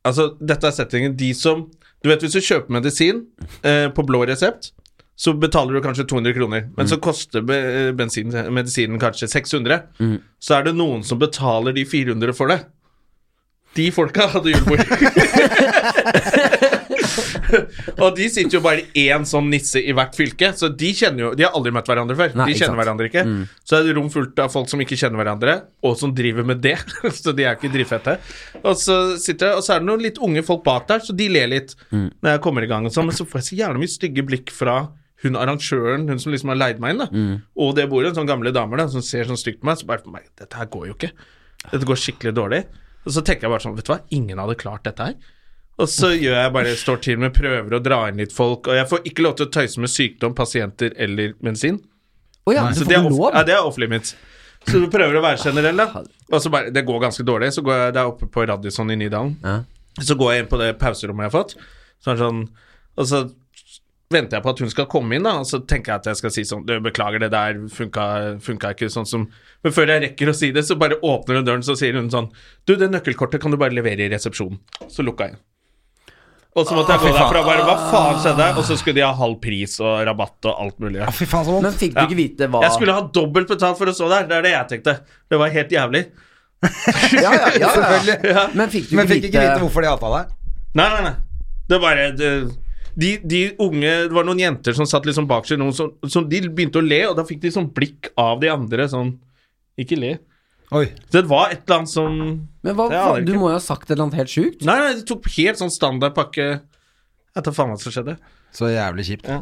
A: Altså, dette er settingen. De som Du vet, hvis du kjøper medisin eh, på blå resept, så betaler du kanskje 200 kroner. Men så koster be eh, bensin, medisinen kanskje 600. Så er det noen som betaler de 400 for det. De folka hadde julebord. og de sitter jo bare én sånn nisse i hvert fylke, så de kjenner jo De har aldri møtt hverandre før.
C: Nei,
A: de
C: ikke
A: kjenner
C: sant. Mm.
A: hverandre ikke. Så er det rom fullt av folk som ikke kjenner hverandre, og som driver med det. så de er ikke drittfette. Og så sitter jeg, og så er det noen litt unge folk bak der, så de ler litt
C: Mm.
A: når jeg kommer i gang og sånn, men så får jeg så jævla mye stygge blikk fra hun arrangøren, hun som liksom har leid meg inn, da.
C: Mm.
A: og det bordet, sånne gamle damer da, som ser sånn stygt på meg, så bare for meg, Dette her går jo ikke. Dette går skikkelig dårlig. Og så tenker jeg bare sånn, vet du hva, ingen hadde klart dette her. Og så gjør jeg bare står til med prøver å dra inn litt folk, og jeg får ikke lov til å tøyse med sykdom, pasienter eller medisin.
C: Å ja, du
A: Så
C: får
A: det er,
C: lov?
A: off, ja, det er off limits. Så du prøver å være generell, da. Og så bare Det går ganske dårlig. Så går jeg der oppe på Radisson i Nydalen.
C: Ja.
A: Så går jeg inn på det pauserommet jeg har fått, så er det sånn, og så venter jeg på at hun skal komme inn, da, og så tenker jeg at jeg skal si sånn du, 'Beklager, det der funka, funka ikke sånn som Men før jeg rekker å si det, så bare åpner hun døren, så sier hun sånn 'Du, det nøkkelkortet kan du bare levere i resepsjonen.' Så lukka jeg. Og så måtte jeg gå derfra og bare 'Hva faen skjedde?' Og så skulle de ha halv pris og rabatt og alt mulig.
B: Fy faen, så
C: Men
B: vondt.
C: fikk du ikke vite hva
A: Jeg skulle ha dobbelt betalt for å stå der. Det er det jeg tenkte. Det var helt jævlig.
C: ja, ja, ja, ja.
B: Selvfølgelig.
C: Men fikk du
B: Men
C: ikke
B: fikk ikke
C: vite
B: vite hvorfor de hata deg.
A: Nei, nei, nei. Det er bare det, de, de unge Det var noen jenter som satt liksom bak seg, noen som, som De begynte å le, og da fikk de sånn blikk av de andre sånn Ikke le.
B: Oi.
A: Så det var et eller annet som Nei,
C: Men hva,
A: Det aner jeg
C: faen, du
A: ikke.
C: må jo ha sagt et eller annet helt sjukt.
A: nei, de tok helt sånn standardpakke Jeg tar faen hva som skjedde.
B: Så jævlig kjipt.
C: Ja,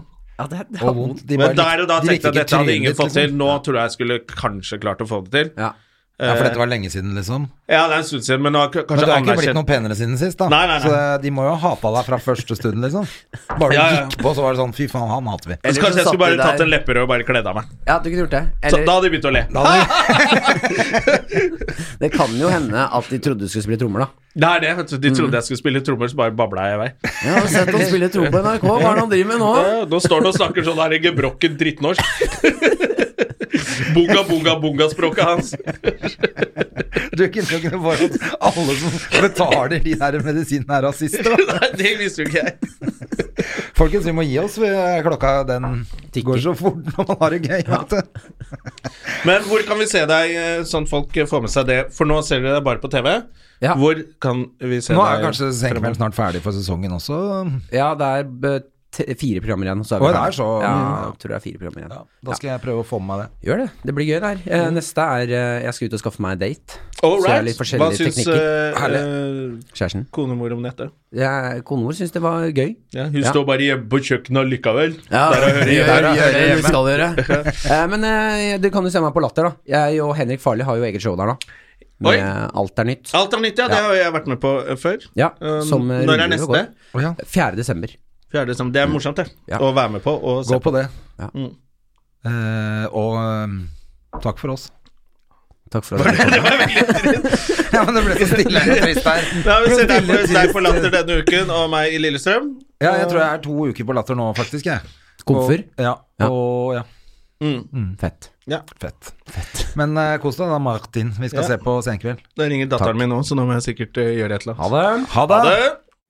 C: det, det
B: Og vondt. De
A: Men
B: bare
A: der og da
B: likte- de likte ikke
A: tenkte jeg at dette hadde
B: trynet
A: ingen
B: ditt,
A: fått til.
B: liksom.
A: Nå tror jeg jeg skulle kanskje klart å få det til.
C: Ja.
B: Ja,
A: Eh.
B: for dette var lenge siden, liksom.
A: Ja, det er en stund siden, men nå har k-
B: Men
A: kanskje
B: du har ikke blitt
A: anerkjent
B: noe penere siden sist, da.
A: Nei, nei, nei.
B: Så eh, de må jo ha hata deg fra første stund, liksom. Bare du
A: Ja, ja.
B: gikk på, så var det sånn Fy faen, han hater vi.
A: Så
D: Eller så
A: Kanskje jeg
D: satt
A: skulle bare
D: du
A: tatt
D: der.
A: en lepperød og bare kledd av meg.
D: Ja, du kunne gjort det.
A: Så,
D: Eller
A: da hadde de begynt å le.
D: det kan jo hende at de trodde du skulle spille trommer, da.
A: Det er det, vet du. De trodde jeg skulle spille trommer, så bare babla jeg i vei.
D: Ja, har sett han spille tro på NRK. Hva er det han driver med nå?
A: Ja, Nå står han og snakker sånn her i gebrokken drittnorsk. bunga, bunga, bunga-språket hans.
B: Du kunne jo ikke bare at alle som betaler de der medisinene, er rasister, da.
A: Nei, det visste jo ikke jeg.
B: Folkens, vi må gi oss. Vi, klokka den går så fort når man har det gøy. Vet du.
A: Men hvor kan vi se deg, eh, sånn folk eh, får med seg det? For nå ser dere deg bare på TV.
C: Ja.
A: Hvor kan vi se
B: Nå er
A: deg?
B: kanskje Senkveld snart ferdig for sesongen også.
C: Ja, det er eh, t- fire programmer igjen. Så er
B: Å,
C: vi
B: det er
C: ferdig.
B: så-
C: Ja, jeg tror det er fire programmer igjen.
B: Da skal jeg prøve å få med meg det.
C: Gjør det. Det blir gøy, det her. Eh, Neste er eh, Jeg skal ut og skaffe meg en date.
A: Mm. All
C: Så det er litt
A: right. Hva
C: forskjellige
A: syns
C: teknikker.
A: eh, eh,
C: Kjæresten.
A: konemor om dette?
C: Jeg- Kona vår syns det var gøy.
A: Ja, hun
C: Ja.
A: står bare hjemme på kjøkkenet likevel.
D: Ja,
A: Der er
D: gjør,
A: Høyre hjemme.
D: gjør, det du skal gjøre.
C: Eh, Men eh, du kan jo se meg på Latter, da. Jeg og Henrik Farley har jo eget show der, da.
A: Oi.
C: Med Alt er nytt.
A: Alt er nytt, ja. Det har jeg vært med på eh, før.
C: Ja,
A: Um,
C: som, eh,
A: når er
C: ruller og
A: neste?
C: går.
B: Å ja,
C: 4. desember.
A: Fjerde desember. Det er morsomt, det.
C: Ja.
A: Å være med på og se
B: gå på det.
C: Ja.
A: Mm.
B: Eh, og eh, takk for oss.
C: Takk for at du kom.
B: Ja, men det ble så stille og trist her.
A: Da har vi sett deg på, deg på Latter denne uken, og meg i Lillestrøm.
B: Ja, jeg tror jeg er to uker på Latter nå, faktisk. jeg
C: Komfer.
B: Og, ja,
C: Ja.
B: og ja,
C: Fett.
B: fett. Men eh, kos deg da, Martin. Vi skal
A: Ja.
B: se på Senkveld.
A: Da ringer datteren min nå, så nå må jeg sikkert eh, gjøre et eller annet.
C: Ha det.
B: Ha det!
A: Ha det.